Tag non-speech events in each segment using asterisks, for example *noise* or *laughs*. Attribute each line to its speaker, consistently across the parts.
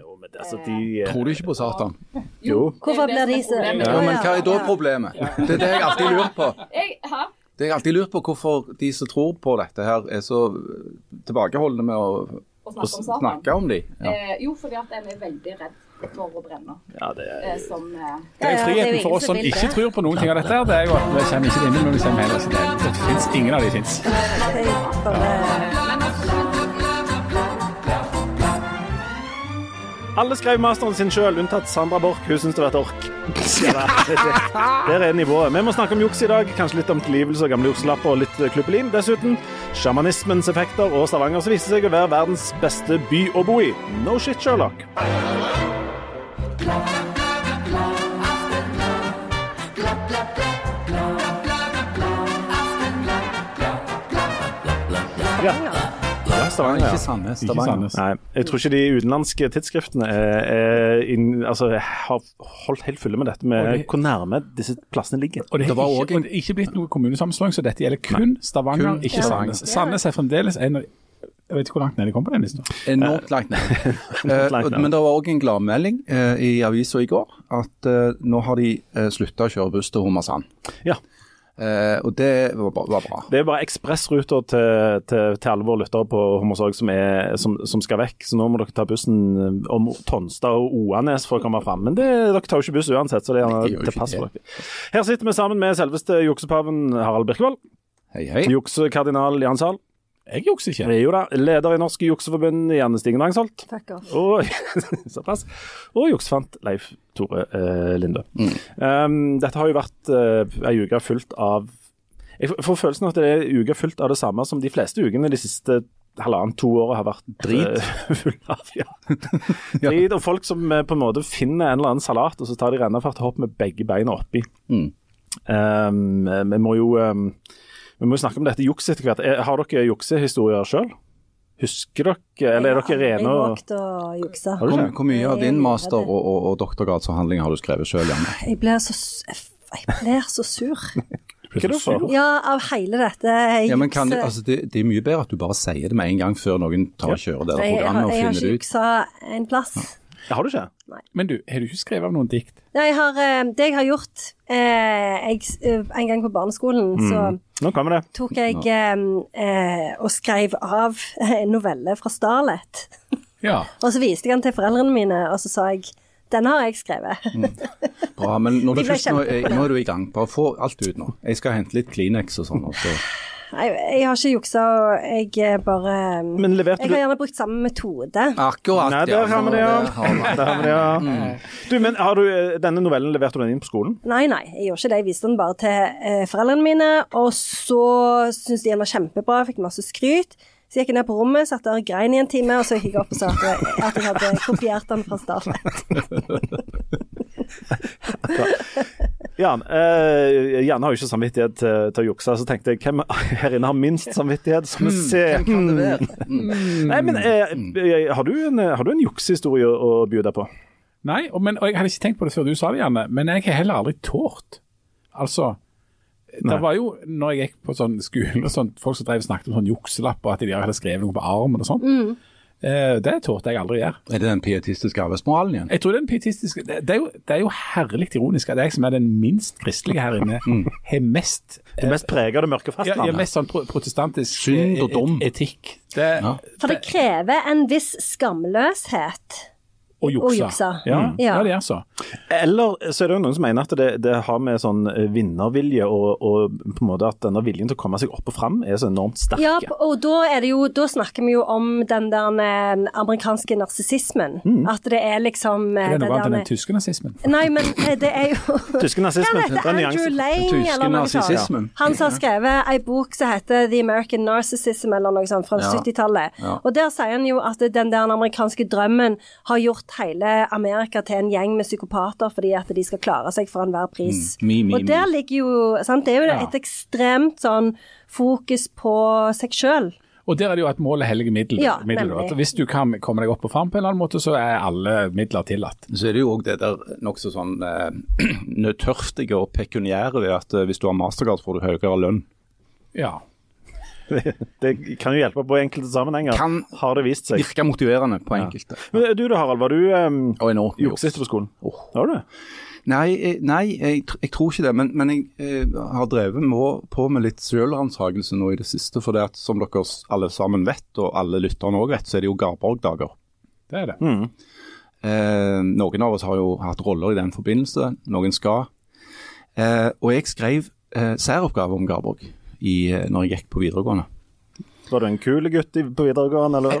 Speaker 1: Jo, men altså, de
Speaker 2: Tror du ikke på Satan?
Speaker 1: Jo.
Speaker 3: Hvorfor
Speaker 4: Det er
Speaker 3: blir de
Speaker 4: det som
Speaker 3: så
Speaker 4: er problemet.
Speaker 2: Ja, men hva er da problemet? Det er det jeg alltid lurer på.
Speaker 4: Jeg, hæ?
Speaker 2: Det jeg alltid lurer på hvorfor de som tror på dette her, er så tilbakeholdne med å,
Speaker 4: Å
Speaker 2: å
Speaker 4: snakke om Satan?
Speaker 2: snakke om de. Ja.
Speaker 4: Eh, jo, fordi at en er veldig redd for å brenne.
Speaker 1: Ja, det er
Speaker 4: Eh, som eh,
Speaker 2: Det er jo
Speaker 3: Ja, ja, det er jo
Speaker 2: friheten
Speaker 3: ingen
Speaker 2: for oss
Speaker 3: som
Speaker 2: som
Speaker 3: vil
Speaker 2: ikke
Speaker 3: det.
Speaker 2: tror på noen ting av dette. her, Det er jo at vi kommer ikke til himmelen, men vi kommer heller ikke til helvete. Det finnes Ingen av de fins.
Speaker 3: Det er bare
Speaker 1: Alle skrev masteren sin sjøl, unntatt Sandra Borch. Hun syns det var et ork. Ja, det- det- Der er nivået. Vi må snakke om juks i dag. Kanskje litt om tilgivelse og gamle jukselapper og litt eh, klubbelin. Dessuten sjamanismens effekter og Stavanger som viste seg å være verdens beste by å bo i. No shit, Sherlock. Ja. Ja, Stavanger, ja.
Speaker 2: Ikke Sandnes.
Speaker 5: Ikke
Speaker 2: Stavanger.
Speaker 5: Sandnes.
Speaker 1: Nei, jeg tror ikke de utenlandske tidsskriftene er, er inn, altså, har holdt helt fulle med dette med
Speaker 5: Og de-
Speaker 1: hvor nærme disse plassene ligger.
Speaker 5: Og det
Speaker 2: Det
Speaker 5: har
Speaker 2: var
Speaker 5: ikke,
Speaker 2: også en-
Speaker 5: og det er ikke blitt noe kommunesammenslåing, så dette gjelder kun Stavanger,
Speaker 2: Kun
Speaker 5: ikke
Speaker 2: Stavanger.
Speaker 5: Sandnes. Sandnes er fremdeles en av Jeg vet ikke hvor langt ned de kom på den listen.
Speaker 2: Enormt langt ned. Eh,
Speaker 1: langt ned.
Speaker 2: Men det var òg en gladmelding eh, i avisa i går at eh, nå har de eh, slutta å kjøre buss til Hummersand.
Speaker 1: Ja,
Speaker 2: Eh, Og det var ba- var bra.
Speaker 1: det er bare ekspressruter til, til, til alle våre lyttere på Hommersorg som, er- som, som skal vekk, så nå må dere ta bussen eh, om Tonstad og Oanes for å komme fram. Men det, dere tar jo ikke buss uansett, så det
Speaker 2: Nei,
Speaker 1: er
Speaker 2: det gjør jo
Speaker 1: til
Speaker 2: ikke
Speaker 1: pass for
Speaker 2: det.
Speaker 1: dere. Her sitter vi sammen med selveste juksepaven Harald Birkevold,
Speaker 2: Hei, hei.
Speaker 1: juksekardinal Jan Sahl,
Speaker 5: Jeg jukser ikke.
Speaker 1: jo da, leder i Norsk Jukseforbund Janne Stigen Langsholt.
Speaker 3: Fuck off.
Speaker 1: Og, *laughs* såpass. Og juksefant Leif Tore eh, Linde. Um, dette har jo vært eh, ei uke fullt av Jeg f- får følelsen av at det er ei uke fullt av det samme som de fleste ukene de siste halvannen, to året har vært
Speaker 2: Drit.
Speaker 1: eh, *laughs* full av. Ja. Drit og folk som eh, på en måte finner en eller annen salat, og så tar de rennafart og hopper med begge beina oppi.
Speaker 2: Mm.
Speaker 1: Um, eh, vi må jo um, vi må jo snakke om dette jukset etter hvert. Eh, Har dere juksehistorier sjøl? Husker dere, eller er dere
Speaker 3: Jeg
Speaker 1: rene?
Speaker 3: har
Speaker 1: og-
Speaker 3: våget å jukse.
Speaker 2: Hvor, hvor mye av din
Speaker 3: Jeg-
Speaker 2: master- og, og, og doktorgradsavhandling har du skrevet sjøl, Janne?
Speaker 3: Jeg blir så s- jeg blir så sur.
Speaker 2: *laughs*
Speaker 1: Hva er det for?
Speaker 3: Ja, av hele dette jukset.
Speaker 2: Ja, men kan det, altså det, det er mye bedre at du bare sier det med en gang før noen tar og kjører det der
Speaker 3: jeg, jeg, har-
Speaker 2: programmet og
Speaker 3: jeg har
Speaker 2: finner
Speaker 3: ikke
Speaker 2: det ut.
Speaker 3: juksa en plass.
Speaker 1: Det har du ikke?
Speaker 5: Men du, har du ikke skrevet av noen dikt?
Speaker 3: Nei, jeg har, eh, det jeg har gjort eh, jeg, s- eh, En gang på barneskolen
Speaker 2: Mm.
Speaker 3: så
Speaker 1: Nå kommer det.
Speaker 3: tok jeg eh, eh, og skrev av *laughs* en novelle fra Starlet.
Speaker 5: Ja.
Speaker 3: Og så viste jeg den til foreldrene mine, og så sa jeg den har jeg skrevet.
Speaker 2: Mm. Bra, men når du
Speaker 3: De ble
Speaker 2: først, nå, er, nå er du i gang. Bare få alt ut nå. Jeg skal hente litt Kleenex og sånn. og så-
Speaker 3: Nei, jeg har ikke juksa, og jeg eh, bare
Speaker 1: Men leverte
Speaker 3: Jeg
Speaker 1: du
Speaker 3: har gjerne brukt samme metode.
Speaker 5: Ah.
Speaker 2: Akkurat,
Speaker 1: Nei, der har vi det,
Speaker 2: Der har vi
Speaker 1: ja.
Speaker 2: det.
Speaker 1: Der har vi det, ja. Mm. Du, men har du eh, denne novellen leverte du den inn på skolen?
Speaker 3: Nei, nei, jeg gjorde ikke det. Jeg viste den bare til eh, foreldrene mine. Og så syntes de den var kjempebra, fikk masse skryt. Så gikk jeg ned på rommet, satt der og grein i en time, og så gikk jeg opp og sa at jeg, at jeg hadde kopiert den fra starten.
Speaker 1: Jan, eh, Janne har jo ikke samvittighet til, til å jukse, så tenkte jeg hvem *laughs* her inne har minst samvittighet? Som vi ser. Nei, men eh, eh, har, du en, eh, har du en juksehistorie å å by deg på?
Speaker 5: Nei, og, men, og jeg hadde ikke tenkt på det før du sa det, Janne, men jeg har heller aldri tålt. Altså,
Speaker 1: Nei.
Speaker 5: det var jo når jeg gikk på sånn skole og sånn, folk som drev og snakket om sånn jukselapper, at de hadde skrevet noe på armen og sånn. Eh, det tålte jeg aldri å gjøre.
Speaker 2: Er det den pietistiske arbeidsmoralen igjen?
Speaker 5: Jeg tror den pietistiske det, det, er jo, det er jo herlig ironisk at jeg som er den minst kristelige her inne,
Speaker 2: Mm.
Speaker 5: har mest
Speaker 1: Det mest preger det mørke
Speaker 5: ja, ja,
Speaker 1: fastlandet.
Speaker 5: mest sånn pro- protestantisk
Speaker 2: Synd og
Speaker 5: eh,
Speaker 2: dom.
Speaker 5: et- etikk. Det,
Speaker 2: Ja.
Speaker 3: For det krever en viss skamløshet.
Speaker 5: Og juksa.
Speaker 3: Og juksa.
Speaker 5: Ja,
Speaker 3: Mm.
Speaker 5: ja.
Speaker 3: Ja.
Speaker 5: det er altså. så.
Speaker 1: Eller så er det jo noen som mener at det, det har med sånn eh, vinnervilje og, og på en måte at denne viljen til å komme seg opp og fram er så enormt
Speaker 5: Ah,
Speaker 1: sterk.
Speaker 3: Ja, og da, er det jo, da snakker vi jo om den der eh, amerikanske narsissismen. At det er liksom eh,
Speaker 5: Det Mm. er
Speaker 3: det
Speaker 5: noe annet
Speaker 3: der-
Speaker 5: enn den tyske nazismen.
Speaker 3: Nei, men eh, det er jo
Speaker 1: Tyske nazismen,
Speaker 3: Hva heter
Speaker 1: den
Speaker 3: Andrew
Speaker 1: nyansen.
Speaker 3: Lane,
Speaker 2: Den tyske
Speaker 3: eller noe sånt?
Speaker 2: narsissismen.
Speaker 3: Han som har skrevet ei bok som heter The American Narcissism, eller noe sånt, fra
Speaker 2: Ja.
Speaker 3: 70-tallet.
Speaker 2: Ja.
Speaker 3: Og der sier han jo at den der amerikanske drømmen har gjort hele Amerika til en gjeng med psykopater fordi at de skal klare seg for enhver pris.
Speaker 2: Mm. Me, me,
Speaker 3: Og der
Speaker 2: me.
Speaker 3: ligger jo sant, Det er jo
Speaker 5: Ja.
Speaker 3: et ekstremt sånn fokus på seg sjøl.
Speaker 5: Og der er det jo at målet helliger middel.
Speaker 3: Ja,
Speaker 5: middel
Speaker 3: nemlig.
Speaker 5: at hvis du kan komme deg opp og fram på en eller annen måte, så er alle midler tillatt.
Speaker 2: Så er det jo òg det der nokså sånn eh, *clears throat* nødtørftige og pekuniære ved at eh, hvis du har mastercard, får du høyere lønn.
Speaker 5: Ja.
Speaker 1: Det kan jo hjelpe på enkelte sammenhenger,
Speaker 2: Kan-
Speaker 1: har det vist seg.
Speaker 2: Virka motiverende på enkelte.
Speaker 1: Men eh, du da, Harald, var du um,
Speaker 2: Og enormt med
Speaker 1: juksiste på skolen?
Speaker 2: Åh.
Speaker 1: Var du?
Speaker 2: Nei, eh, nei jeg, tr- jeg tror ikke det. Men, men jeg eh, har drevet med, på med litt selvransakelse nå i det siste. For det at som dere s- alle sammen vet, og alle lytterne òg vet, så er det jo Garborg-dager.
Speaker 5: Det er det.
Speaker 2: Mm. Eh, noen av oss har jo hatt roller i den forbindelse. Noen skal. Eh, og jeg skrev eh, særoppgave om Garborg i, eh, når jeg gikk på videregående.
Speaker 1: Var du en kul gutt i- på videregående,
Speaker 2: *laughs*
Speaker 1: eller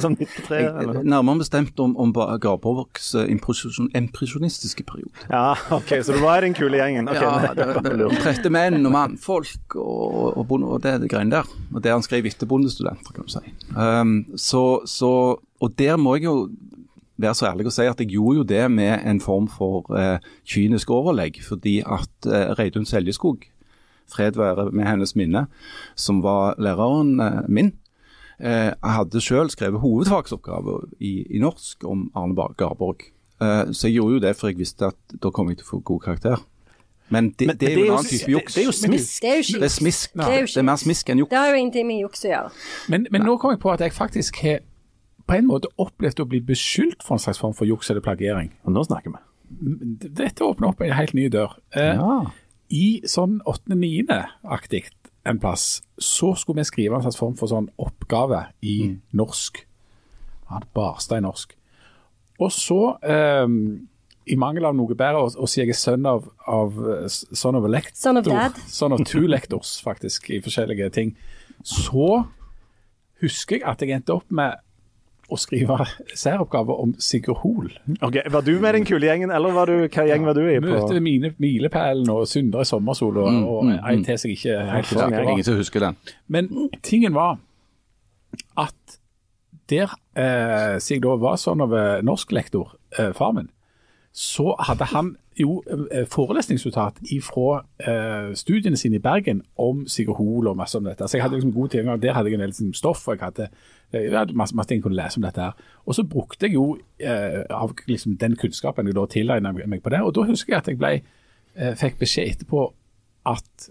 Speaker 1: som 93? sånn Eller?
Speaker 2: Jeg, Eh, nærmere bestemt om, om Ba- Garborgs eh, impresjon- impresjonistiske periode.
Speaker 1: Ja, OK, så du var i den kule gjengen. Ok,
Speaker 2: ja,
Speaker 1: nei,
Speaker 2: det,
Speaker 1: bare
Speaker 2: det,
Speaker 1: lurt.
Speaker 2: trette menn og mannfolk og, og, bonde, og det, det greiene der. Og det han skrev etter bondestudenter, kan du si. Um, så, så, og der må jeg jo være så ærlig å si at jeg gjorde jo det med en form for eh, kynisk overlegg, fordi at eh, Reidun Seljeskog, fred være med hennes minne, som var læreren eh, min, eh, hadde selv skrevet hovedfagsoppgave i, i norsk om Arne Bar- Garborg. Eh, så jeg gjorde jo det, for jeg visste at da kom jeg til å få god karakter. Men det,
Speaker 1: Men
Speaker 2: det er jo en annen type juks.
Speaker 1: Det, det er jo smisk.
Speaker 3: Det er jo
Speaker 2: Det er
Speaker 3: skitt.
Speaker 2: smisk.
Speaker 3: Det er jo
Speaker 2: Det er mer
Speaker 3: skitt.
Speaker 2: smisk enn juks.
Speaker 3: Det har jo ingenting med juks å gjøre.
Speaker 5: Men, men nå kom jeg på at jeg faktisk har på en måte opplevd å bli beskyldt for en slags form for juks eller plagiering.
Speaker 1: Og Nå snakker vi.
Speaker 5: Dette åpner opp en helt ny dør. Eh, I sånn 8.-9.-aktig en plass, så skulle vi skrive en slags form for sånn oppgave i norsk. Han barsta i norsk. Og så, eh, i mangel av noe bedre, og, og siden jeg er sønn av, av eh, son of a lektor
Speaker 3: Son of
Speaker 5: *laughs*
Speaker 3: dad.
Speaker 5: Son of two lectors, faktisk, i forskjellige ting. Så husker jeg at jeg endte opp med å skrive *laughs* særoppgave om Sigurd Hoel.
Speaker 1: Ok, Var du med i den kule gjengen, eller var du, hva gjeng var du i? på?
Speaker 5: Møte mine milepælen og Sundre Sommersol og,
Speaker 2: Mm,
Speaker 5: og en til som jeg ikke Sånn er helt
Speaker 2: Det Sånn er
Speaker 5: sikker på.
Speaker 2: ingen som husker den.
Speaker 5: Men tingen var at der, eh, siden jeg da var sånn av eh, norsklektor, eh, far min, så hadde han jo eh, forelesningsuttat fra eh, studiene sine i Bergen om Sigurd Hoel og masse om dette. Så jeg hadde liksom god tilgang, der hadde jeg en del liksom, stoff, og jeg hadde, eh, jeg hadde masse, masse ting jeg kunne lese om dette her. Og så brukte jeg jo eh, av liksom, den kunnskapen jeg da tilegna meg på det, og da husker jeg at jeg ble, eh, fikk beskjed etterpå at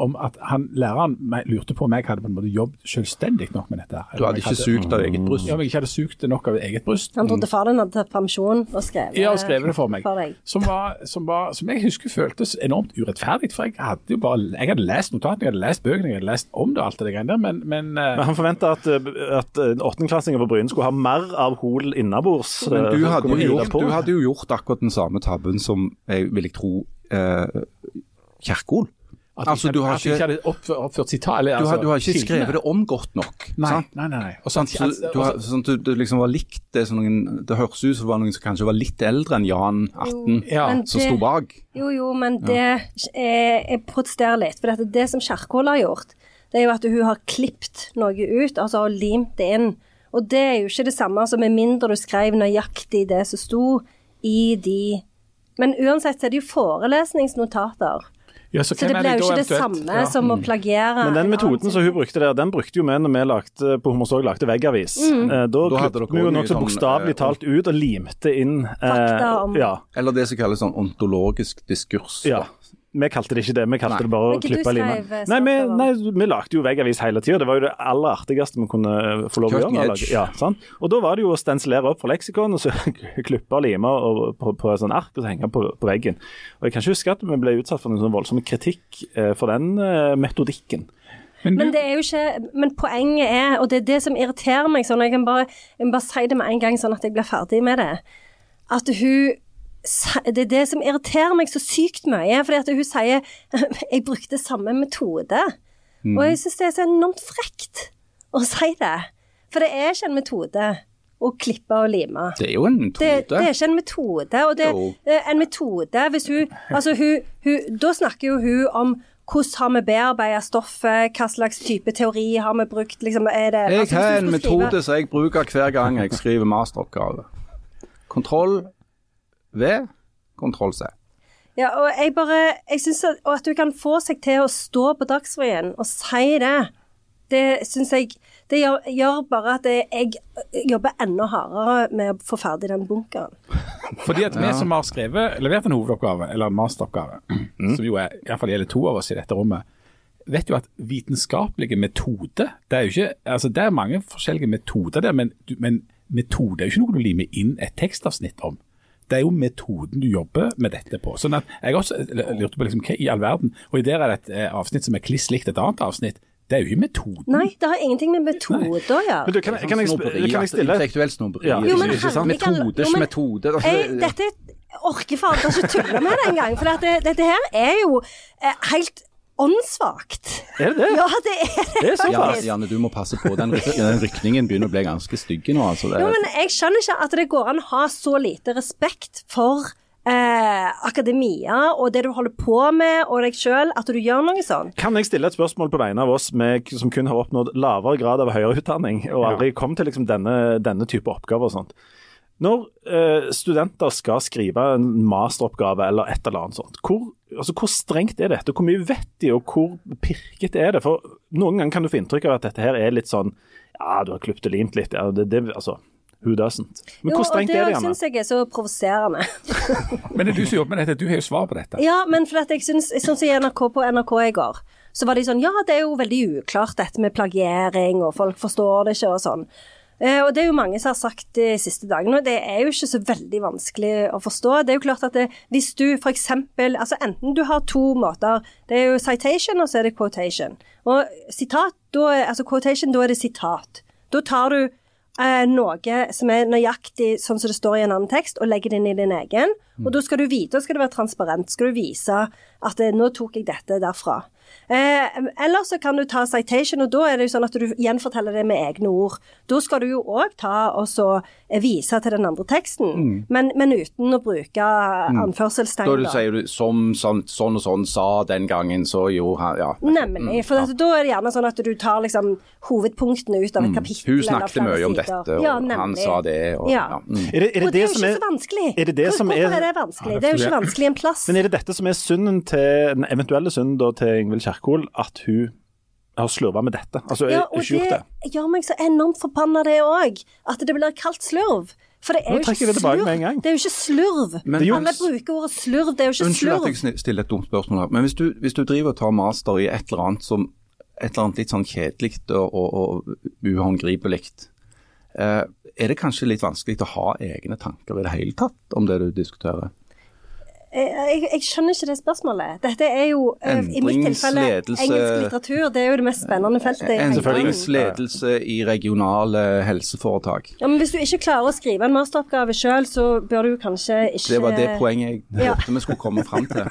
Speaker 5: om at han, læreren me- lurte på om jeg hadde på en måte jobbet selvstendig nok med dette. her.
Speaker 2: Du hadde ikke sugd av eget bryst.
Speaker 5: Ja, om jeg ikke hadde sugt det nok av eget bryst.
Speaker 3: Han
Speaker 2: Mm.
Speaker 3: trodde faren din hadde tatt permisjon og skrevet
Speaker 5: Ja, og skrevet det for meg.
Speaker 3: eh, For deg.
Speaker 5: Som, var, som, var, som jeg husker føltes enormt urettferdig, for jeg hadde jo bare jeg hadde lest notatene, jeg hadde lest bøkene, jeg hadde lest om det og alt det greiene der, men, men eh,
Speaker 1: Men Han forventa at, eh, at eh, åttendeklassinger på Bryne skulle ha mer av Hol innabords.
Speaker 2: Men
Speaker 1: eh,
Speaker 2: du
Speaker 1: som
Speaker 2: hadde,
Speaker 1: kunne
Speaker 2: jo
Speaker 1: hive
Speaker 2: gjort,
Speaker 1: på.
Speaker 2: du hadde jo gjort akkurat den samme tabben som jeg vil jeg tro eh, Kjerkol.
Speaker 5: at jeg
Speaker 2: Altså,
Speaker 5: ikke-
Speaker 2: du har
Speaker 5: at jeg
Speaker 2: ikke-
Speaker 5: ikke hadde oppført, oppført sitat. Eller,
Speaker 2: Du har,
Speaker 5: altså,
Speaker 2: du har ikke
Speaker 5: kildene.
Speaker 2: skrevet det om godt nok.
Speaker 5: Nei,
Speaker 2: sant?
Speaker 5: nei, nei. nei. Og
Speaker 2: Sånn,
Speaker 5: sant,
Speaker 2: så,
Speaker 5: altså,
Speaker 2: du har,
Speaker 5: også-
Speaker 2: sånn, at du, du liksom var likt det som noen Det høres ut som det var noen som kanskje var litt eldre enn Jan 18
Speaker 5: ja,
Speaker 3: Men
Speaker 2: som
Speaker 3: det-
Speaker 2: sto bak.
Speaker 3: Jo, jo, men det eh, Jeg protesterer litt. For dette, det som Kjerkol har gjort, det er jo at hun har klippet noe ut, altså har limt det inn. Og det er jo ikke det samme som med mindre du skrev nøyaktig det som sto i de Men uansett så er det jo forelesningsnotater.
Speaker 5: ja, så,
Speaker 3: Så det blir jo ikke det samme som å plagiere.
Speaker 1: Men den
Speaker 3: en
Speaker 1: metoden
Speaker 3: annen
Speaker 1: som hun brukte der, den brukte jo vi når vi lagde på Hommersåk lagde veggavis.
Speaker 3: Mm.
Speaker 1: Eh, Da
Speaker 2: Da hadde dere
Speaker 1: klippet vi jo
Speaker 2: også
Speaker 1: nokså
Speaker 2: mye sånn,
Speaker 1: bokstavelig
Speaker 2: eh,
Speaker 1: talt ut og limte inn eh,
Speaker 3: Fakta om-
Speaker 1: ja,
Speaker 2: Eller det som kalles sånn ontologisk diskurs.
Speaker 1: ja.
Speaker 2: da.
Speaker 1: Vi kalte det ikke det, vi kalte
Speaker 2: Nei.
Speaker 1: det bare å
Speaker 3: Men ikke du
Speaker 1: klippe
Speaker 3: skrev,
Speaker 1: limen.
Speaker 3: eh,
Speaker 1: Nei, vi,
Speaker 3: saker om-
Speaker 1: nei, vi lagde jo veggavis hele tida. Det var jo det aller artigste vi kunne eh, få lov å
Speaker 2: Cutting
Speaker 1: gjøre. å lage-
Speaker 2: edge.
Speaker 1: Ja, sant? Og da var det jo å stensilere opp fra leksikon, og så *laughs* klippe og lime og- på, på et sånt ark og så henge på, på veggen. Og Jeg kan ikke huske at vi ble utsatt for noen sånn voldsom kritikk eh, for den eh, metodikken.
Speaker 3: Men det er jo ikke Men poenget er, og det er det som irriterer meg sånn, og jeg kan bare, jeg kan bare si det med en gang sånn at jeg blir ferdig med det, at hun sa- det er det som irriterer meg så sykt mye, fordi at hun sier *laughs* 'jeg brukte samme metode'. Og jeg syns det er så enormt frekt å si det. For det er ikke en metode å klippe og lime.
Speaker 2: Det er jo en metode.
Speaker 3: Det, det er ikke en metode. Og det,
Speaker 2: Jo.
Speaker 3: eh, en metode hvis hun, altså hun, hun Da snakker jo hun om hvordan har vi bearbeidet stoffet, hva slags type teori har vi brukt, liksom er det
Speaker 2: Jeg
Speaker 3: altså, hvis
Speaker 2: har en
Speaker 3: du skulle skrive-
Speaker 2: metode som jeg bruker hver gang jeg skriver masteroppgave. Kontroll V, kontroll C.
Speaker 3: Ja, og jeg bare Jeg syns at, og at hun kan få seg til å stå på Dagsrevyen og si det, det syns jeg Det gjør, gjør bare at jeg, jeg jobber enda hardere med å få ferdig den bunkeren.
Speaker 5: Fordi at vi som har skrevet, levert en hovedoppgave, eller en masteroppgave, som jo er, i hvert fall gjelder to av oss i dette rommet, vet jo at vitenskapelige metoder Det er jo ikke, altså det er mange forskjellige metoder der, men, du- men metode er jo ikke noe du limer inn et tekstavsnitt om. Det er jo metoden du jobber med dette på. Sånn at Jeg også l- lurte på liksom, hva i all verden Og i der er det et eh, avsnitt som er kliss likt et annet avsnitt. Det er jo ikke metoden.
Speaker 3: Nei, det har ingenting med metode å gjøre.
Speaker 1: Men du, kan, jeg- kan, jeg, sp-
Speaker 2: Snobberi,
Speaker 1: kan jeg
Speaker 2: altså,
Speaker 1: stille et
Speaker 2: Intellektuelt snobberi.
Speaker 1: Ja. Jo,
Speaker 3: men
Speaker 2: ikke sant?
Speaker 3: herregud,
Speaker 2: Metode,
Speaker 3: alle- jo,
Speaker 2: ikke
Speaker 3: men-
Speaker 2: metode. altså,
Speaker 3: Jeg, dette orker faen ikke å tulle med det engang. For dette, dette her er jo eh, helt åndssvakt.
Speaker 1: Er det det?
Speaker 3: Ja, det er
Speaker 1: Det er så
Speaker 2: ja,
Speaker 1: fast.
Speaker 2: Janne, du må passe på. Den, ryk, den rykningen begynner å bli ganske stygg nå. Altså, det,
Speaker 3: Jo, men jeg skjønner ikke at det går an å ha så lite respekt for eh, akademia og det du holder på med, og deg sjøl, at du gjør noe sånn.
Speaker 1: Kan jeg stille et spørsmål på vegne av oss med, som kun har oppnådd lavere grad av høyere utdanning, og aldri kom til liksom denne, denne type oppgaver og sånt. Når eh, studenter skal skrive en masteroppgave eller et eller annet sånt, hvor, altså, hvor strengt er dette? Hvor mye vet de, og hvor pirket er det? For noen ganger kan du få inntrykk av at dette her er litt sånn Ja, du har klippet og limt litt. Ja, det, det, altså, who doesn't? Men hvor strengt
Speaker 3: jo,
Speaker 1: er
Speaker 3: og
Speaker 1: det,
Speaker 3: det
Speaker 1: Janne?
Speaker 3: syns jeg er så provoserende.
Speaker 5: Men det er du som jobber med dette, du har jo svar på dette.
Speaker 3: Ja, men for at jeg syns, sånn som i NRK på NRK i går, så var de sånn Ja, det er jo veldig uklart dette med plagiering, og folk forstår det ikke og sånn. Eh, og det er jo mange som har sagt de siste dagene, og det er jo ikke så veldig vanskelig å forstå. Det er jo klart at det, hvis du f.eks. Altså enten du har to måter Det er jo citation, og så er det quotation. Og sitat, da er, altså quotation, da er det sitat. Da tar du eh, noe som er nøyaktig sånn som det står i en annen tekst, og legger det inn i din egen.
Speaker 2: Mm.
Speaker 3: Og da skal du vite, og skal det være transparent, skal du vise at eh, nå tok jeg dette derfra. Eh, eller så kan du ta citation, og da er det jo sånn at du gjenforteller det med egne ord. Da skal du jo òg ta og så eh, vise til den andre teksten, men, men uten å bruke
Speaker 2: Mm. da
Speaker 3: anførselstegn.
Speaker 2: du sier du som, som sånn og sånn sa den gangen, så jo han Mm. ja. Mm.
Speaker 3: Nemlig. For altså, da er det gjerne sånn at du tar liksom hovedpunktene ut av et kapittel.
Speaker 2: Hun
Speaker 3: eller
Speaker 2: snakket
Speaker 3: flere
Speaker 2: mye om
Speaker 3: sider.
Speaker 2: dette, og
Speaker 3: Ja,
Speaker 2: han
Speaker 3: nemlig.
Speaker 2: sa det. Og,
Speaker 3: Ja.
Speaker 2: ja, mm.
Speaker 1: Er det, er det,
Speaker 3: og det er jo
Speaker 1: som
Speaker 3: ikke så vanskelig.
Speaker 1: er det det
Speaker 3: Hvor-
Speaker 1: som er-
Speaker 3: Hvorfor er det vanskelig? Det er jo ikke vanskelig en plass.
Speaker 1: Men er det dette som er synden til, den eventuelle synden da, til Ingvild Kjerkol, at hun har slurva med dette? Altså,
Speaker 3: Ja,
Speaker 1: ikke
Speaker 3: og
Speaker 1: gjort det.
Speaker 3: det gjør meg så enormt forbanna, det òg. At det blir kalt slurv. For det er
Speaker 1: Nå
Speaker 3: jo ikke
Speaker 1: trekker jeg det tilbake
Speaker 3: slurv.
Speaker 1: med en gang.
Speaker 3: Det er jo ikke slurv.
Speaker 2: Men-
Speaker 3: Alle bruker ordet slurv, det er jo ikke
Speaker 2: Unnskyld
Speaker 3: slurv.
Speaker 2: at jeg sni- stiller et dumt spørsmål her, men hvis du, hvis du driver og tar master i et eller annet som et eller annet litt sånn kjedelig og, og, og uhåndgripelig, eh, er det kanskje litt vanskelig å ha egne tanker i det hele tatt om det du diskuterer?
Speaker 3: Jeg, jeg, jeg skjønner ikke det spørsmålet. Dette er jo eh, i mitt tilfelle
Speaker 2: Endringsledelse-
Speaker 3: engelsk litteratur. Det er jo det mest spennende feltet. i hele verden.
Speaker 2: Endringsledelse i regionale helseforetak.
Speaker 3: Ja, men Hvis du ikke klarer å skrive en masteroppgave sjøl, så bør du kanskje ikke
Speaker 2: Det var det poenget jeg
Speaker 3: Ja.
Speaker 2: håpte vi skulle komme fram
Speaker 3: *laughs*
Speaker 2: til.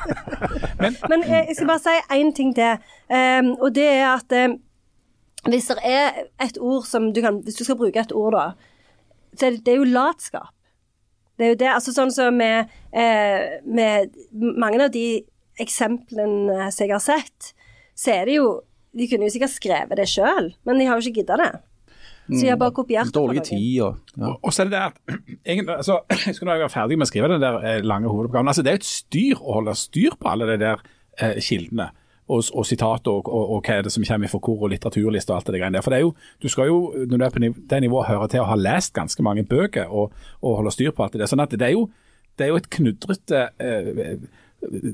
Speaker 3: Men eh, jeg skal bare si én ting til. Ehm, og det er at eh, hvis det er et ord som du kan Hvis du skal bruke et ord, da, så er det, det er jo latskap. Det er jo det. Altså sånn som med, eh, med mange av de eksemplene som jeg har sett, så er det jo De kunne jo sikkert skrevet det sjøl, men de har jo ikke gidda det. Så de har bare kopiert det. fra
Speaker 2: Dårlig
Speaker 3: noen.
Speaker 2: tid og ja.
Speaker 5: Og- Og så er det det at *clears throat* egentlig, altså, jeg skulle nå være ferdig med å skrive den der eh, lange hovedoppgaven. Altså, det er jo et styr å holde styr på alle de der eh, kildene og, og sitater og, og, og hva er det som kommer fra hvor og litteraturliste og alt det der greiene der. For det er jo, du skal jo, når du er på niv- det nivået, høre til å ha lest ganske mange bøker og, og holde styr på alt det der. Sånn at det er jo, det er jo et knudrete eh,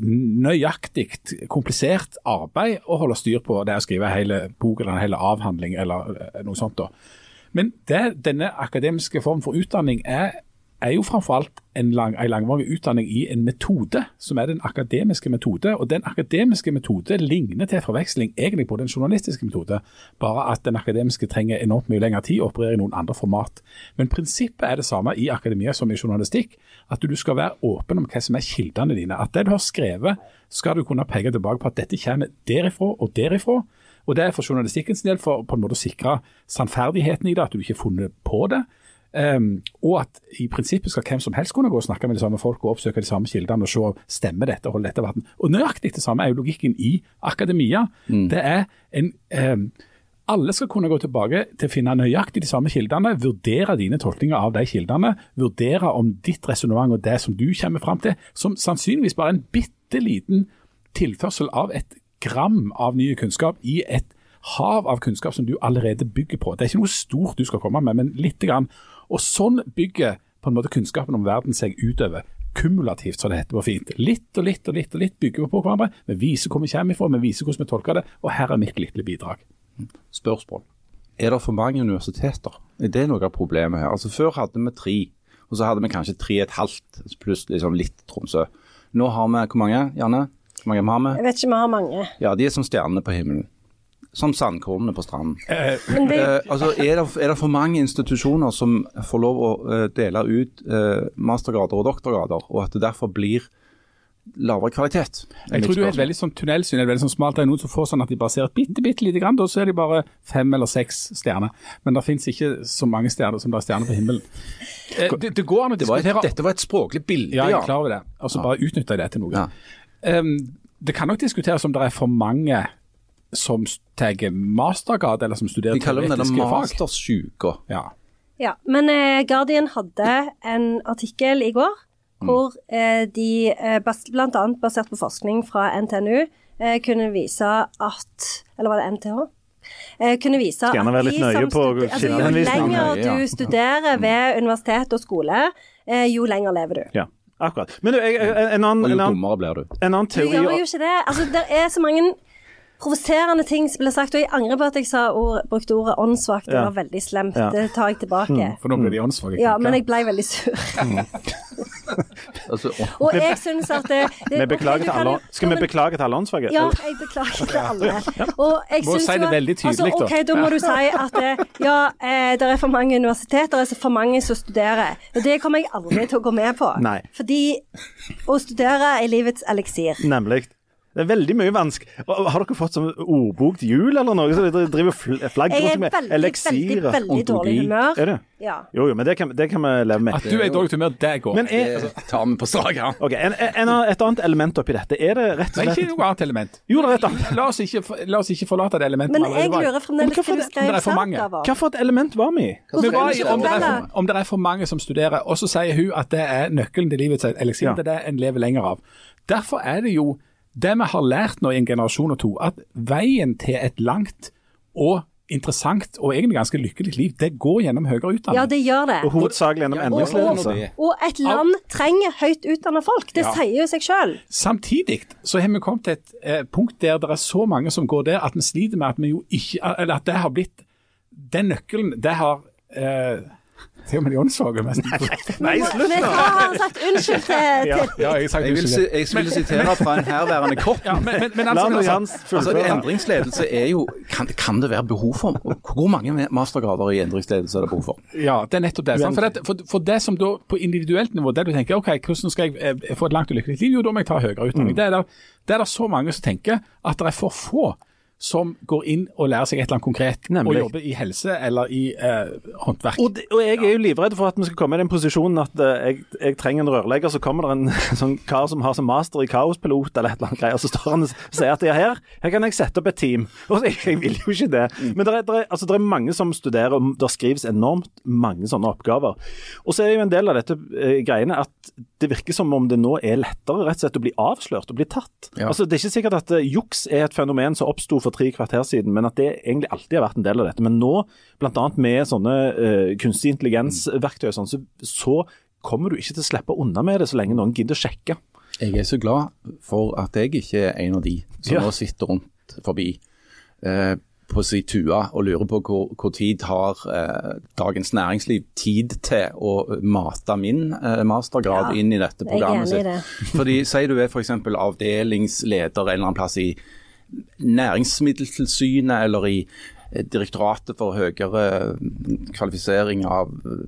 Speaker 5: nøyaktig, komplisert arbeid å holde styr på det å skrive en hel bok eller en hel avhandling eller eh, noe sånt. da. Men det, denne akademiske formen for utdanning er, er jo framfor alt en, lang, en langvarig utdanning i en metode, som er den akademiske metode. Og den akademiske metode ligner til forveksling egentlig på den journalistiske metode, bare at den akademiske trenger enormt mye lengre tid og opererer i noen andre format. Men prinsippet er det samme i akademia som i journalistikk, at du skal være åpen om hva som er kildene dine. At det du har skrevet, skal du kunne peke tilbake på at dette kommer derifra og derifra. Og det er for journalistikkens del for på en måte å sikre sannferdigheten i det, at du ikke har funnet på det. Ehm, og at i prinsippet skal hvem som helst kunne gå og snakke med de samme folk og oppsøke de samme kildene og se om stemmer dette, holder dette vann. Og nøyaktig det samme er jo logikken i akademia. Det er en ehm, alle skal kunne gå tilbake til å finne nøyaktig de samme kildene, vurdere dine tolkninger av de kildene, vurdere om ditt resonnement og det som du kommer fram til, som sannsynligvis bare er en bitte liten tilførsel av et gram av ny kunnskap i et hav av kunnskap som du allerede bygger på. Det er ikke noe stort du skal komme med, men lite grann. Og sånn bygger på en måte kunnskapen om verden seg utover. kumulativt, som det heter på fint. Litt og litt og litt og litt bygger vi på hverandre. Vi viser hvor vi kommer ifra, vi viser hvordan vi tolker det, og her er mitt lille bidrag.
Speaker 2: Spørsmål. Er det for mange universiteter? Er det noe av problemet her? Altså Før hadde vi tre, og så hadde vi kanskje tre og et halvt, pluss liksom litt Tromsø. Nå har vi hvor mange, Janne? Hvor mange har vi?
Speaker 3: Jeg vet ikke, vi har mange.
Speaker 2: Ja, de er som stjernene på himmelen. Som sandkornene på stranden.
Speaker 3: Men det,
Speaker 2: Eh, altså, er, det, er det for mange institusjoner som får lov å eh, dele ut eh, mastergrader og doktorgrader, og at det derfor blir lavere kvalitet?
Speaker 5: Jeg tror du er et veldig sånn tunnelsyn, et veldig sånn smalt. Det er noen som får sånn at de bare ser et bitte, bitte lite grann, da så er de bare fem eller seks stjerner. Men det finnes ikke så mange stjerner som det er stjerner på himmelen. Eh, Det, det går an å
Speaker 2: det var et,
Speaker 5: diskutere
Speaker 2: dette var et språklig bilde,
Speaker 5: Ja, jeg er klar over det. Altså bare utnytte det til noe.
Speaker 2: Ja.
Speaker 5: Ehm, det kan nok diskuteres om det er for mange som tar mastergrad, eller som studerer
Speaker 2: De kaller det
Speaker 5: teoretiske fag.
Speaker 2: mastersjuka.
Speaker 5: Ja.
Speaker 3: ja. Men eh, Guardian hadde en artikkel i går
Speaker 1: Mm.
Speaker 3: hvor eh, de, eh, bas blant annet basert på forskning fra NTNU, eh, kunne vise at Eller var det NTH? Eh, kunne vise
Speaker 1: Skal gjerne være
Speaker 3: at
Speaker 1: litt
Speaker 3: de som
Speaker 1: nøye på
Speaker 3: studer- altså, Jo
Speaker 1: kildehenvisning.
Speaker 3: lenger
Speaker 2: Ja.
Speaker 3: du studerer ved universitet og skole, eh, jo lenger lever du.
Speaker 1: Mm. Ja, akkurat. Men du, jeg, jeg- en,
Speaker 2: Og
Speaker 1: annen,
Speaker 2: jo
Speaker 1: en, annen,
Speaker 2: dummere blir du.
Speaker 1: en annen
Speaker 3: Du gjør
Speaker 1: teori
Speaker 3: jo ikke det. Altså, det er så mange provoserende ting som blir sagt, og jeg angrer på at jeg sa ord, brukte ordet åndssvakt. Det
Speaker 1: Ja.
Speaker 3: var veldig slemt.
Speaker 1: Ja. Mm.
Speaker 3: Det tar jeg tilbake.
Speaker 5: For nå blir de åndssvake.
Speaker 3: Ja, men jeg ble veldig sur.
Speaker 2: Altså, å-
Speaker 3: Og jeg synes at
Speaker 5: *laughs*
Speaker 3: det, det,
Speaker 1: Vi beklager
Speaker 3: ok, du
Speaker 1: til
Speaker 3: kan
Speaker 1: alle,
Speaker 3: jo-
Speaker 1: skal vi beklage til alle åndsfaget?
Speaker 3: Ja, jeg beklager
Speaker 5: *laughs*
Speaker 3: til alle. Og jeg
Speaker 5: Må
Speaker 3: synes
Speaker 5: si
Speaker 3: jo
Speaker 5: det
Speaker 3: at-
Speaker 5: veldig tydelig,
Speaker 3: altså,
Speaker 5: da.
Speaker 3: OK, da må du si at eh, ja, eh, det er for mange universiteter, det er for mange som studerer. Og det kommer jeg aldri til å gå med på.
Speaker 1: Nei.
Speaker 3: Fordi å studere er livets eliksir.
Speaker 1: Nemlig. Det er veldig mye vansk. Og- Har dere fått sånn ordbok til jul eller noe? Så dere driver fl- flagger
Speaker 3: Jeg er
Speaker 1: rundt med
Speaker 3: veldig, veldig,
Speaker 1: eliksirer.
Speaker 3: veldig dårlig
Speaker 2: ontologi.
Speaker 3: humør.
Speaker 1: Er det?
Speaker 3: Ja.
Speaker 1: Jo, jo, men det kan, det kan vi leve med.
Speaker 5: At du er i dårlig humør, det går.
Speaker 1: Men er,
Speaker 2: det tar vi på strak arm.
Speaker 1: ok, en, en, et annet element oppi dette, er det rett og
Speaker 5: det er
Speaker 1: slett
Speaker 5: ikke noe annet element.
Speaker 1: Jo, det er et annet.
Speaker 5: La oss ikke, la oss ikke forlate det elementet.
Speaker 3: Men
Speaker 5: vi
Speaker 3: jeg
Speaker 5: allerede var i.
Speaker 3: lurer fremdeles
Speaker 1: Men
Speaker 3: hva
Speaker 1: hvorfor
Speaker 3: du
Speaker 1: det-
Speaker 5: men
Speaker 3: skrev
Speaker 5: det er for mange.
Speaker 3: sant av
Speaker 1: Hva for et element var vi i?
Speaker 3: Hvorfor
Speaker 5: Vi
Speaker 3: kan
Speaker 5: var
Speaker 3: du
Speaker 5: i
Speaker 3: ikke
Speaker 5: om det, er
Speaker 3: fortelle?
Speaker 5: for, om det er for mange som studerer, og så sier hun at det er nøkkelen til livets eliksir.
Speaker 1: Ja.
Speaker 5: Det er det en lever lenger av. Derfor er det jo det vi har lært nå i en generasjon og to, at veien til et langt og interessant og egentlig ganske lykkelig liv, det går gjennom høyere utdanning.
Speaker 3: Ja, det gjør det.
Speaker 1: Og hovedsakelig gjennom endringsledelse.
Speaker 3: Og et land trenger høyt utdanna folk. Det
Speaker 5: Ja.
Speaker 3: sier jo seg sjøl.
Speaker 5: Samtidig så har vi kommet til et eh, punkt der det er så mange som går der at vi sliter med at vi jo ikke Eller at det har blitt Den nøkkelen, det har eh, *laughs* Til og med de åndssvake, nesten.
Speaker 1: Nei, slutt
Speaker 3: Men hva
Speaker 1: nå!
Speaker 3: har han sagt unnskyld til, til
Speaker 5: *laughs* Ja, jeg, sa
Speaker 2: Jeg vil, si-
Speaker 5: unnskyld.
Speaker 2: jeg vil sitere fra en
Speaker 1: *laughs*
Speaker 2: herværende kopp.
Speaker 5: Ja, men, men, men
Speaker 1: La
Speaker 5: altså,
Speaker 1: nå
Speaker 5: altså,
Speaker 1: Jans
Speaker 2: Altså,
Speaker 1: fullføre.
Speaker 2: endringsledelse er jo kan, kan det være behov for? Hvor mange mastergrader i endringsledelse er det behov for?
Speaker 5: Ja, det er nettopp det. Sant? For, det for, for det som da på individuelt nivå, der du tenker ok, hvordan skal jeg eh, få et langt og lykkelig liv, jo da må jeg ta høyere utdanning.
Speaker 1: Mm.
Speaker 5: Det, er der, det er der så mange som tenker at det er for få som går inn og lærer seg et eller annet konkret,
Speaker 1: Nemlig.
Speaker 5: og jobber i helse eller i eh, håndverk.
Speaker 1: Og, det- og jeg er jo livredd for at vi skal komme i den posisjonen at eh, jeg, jeg trenger en rørlegger, så kommer det en *laughs* sånn kar som har som master i kaospilot eller et eller annet greier, og så står han og s- sier at ja, her, her kan jeg sette opp et team. *laughs* Og så, jeg vil jo ikke det. Men det er, der er, altså, der er mange som studerer, og det skrives enormt mange sånne oppgaver. Og så er jo en del av dette eh, greiene at det virker som om det nå er lettere rett og slett å bli avslørt og bli tatt.
Speaker 2: Ja.
Speaker 1: Altså, det er ikke sikkert at eh, juks er et fenomen som oppsto for tre kvarter siden, men at det egentlig alltid har vært en del av dette. Men nå, bl.a. med sånne eh, kunstig intelligens-verktøy, og sånn, så, så kommer du ikke til å slippe unna med det så lenge noen gidder å sjekke.
Speaker 2: Jeg er så glad for at jeg ikke er en av de som
Speaker 1: Ja.
Speaker 2: nå sitter rundt forbi eh, på si tue og lurer på hvor, hvor tid har eh, Dagens Næringsliv tid til å mate min eh, mastergrad
Speaker 3: Ja,
Speaker 2: inn i dette
Speaker 3: jeg er
Speaker 2: programmet
Speaker 3: enig i
Speaker 2: sitt. Fordi Si du er f.eks. avdelingsleder en eller annen plass i Næringsmiddeltilsynet eller i eh, Direktoratet for høyere mm, kvalifisering av eh,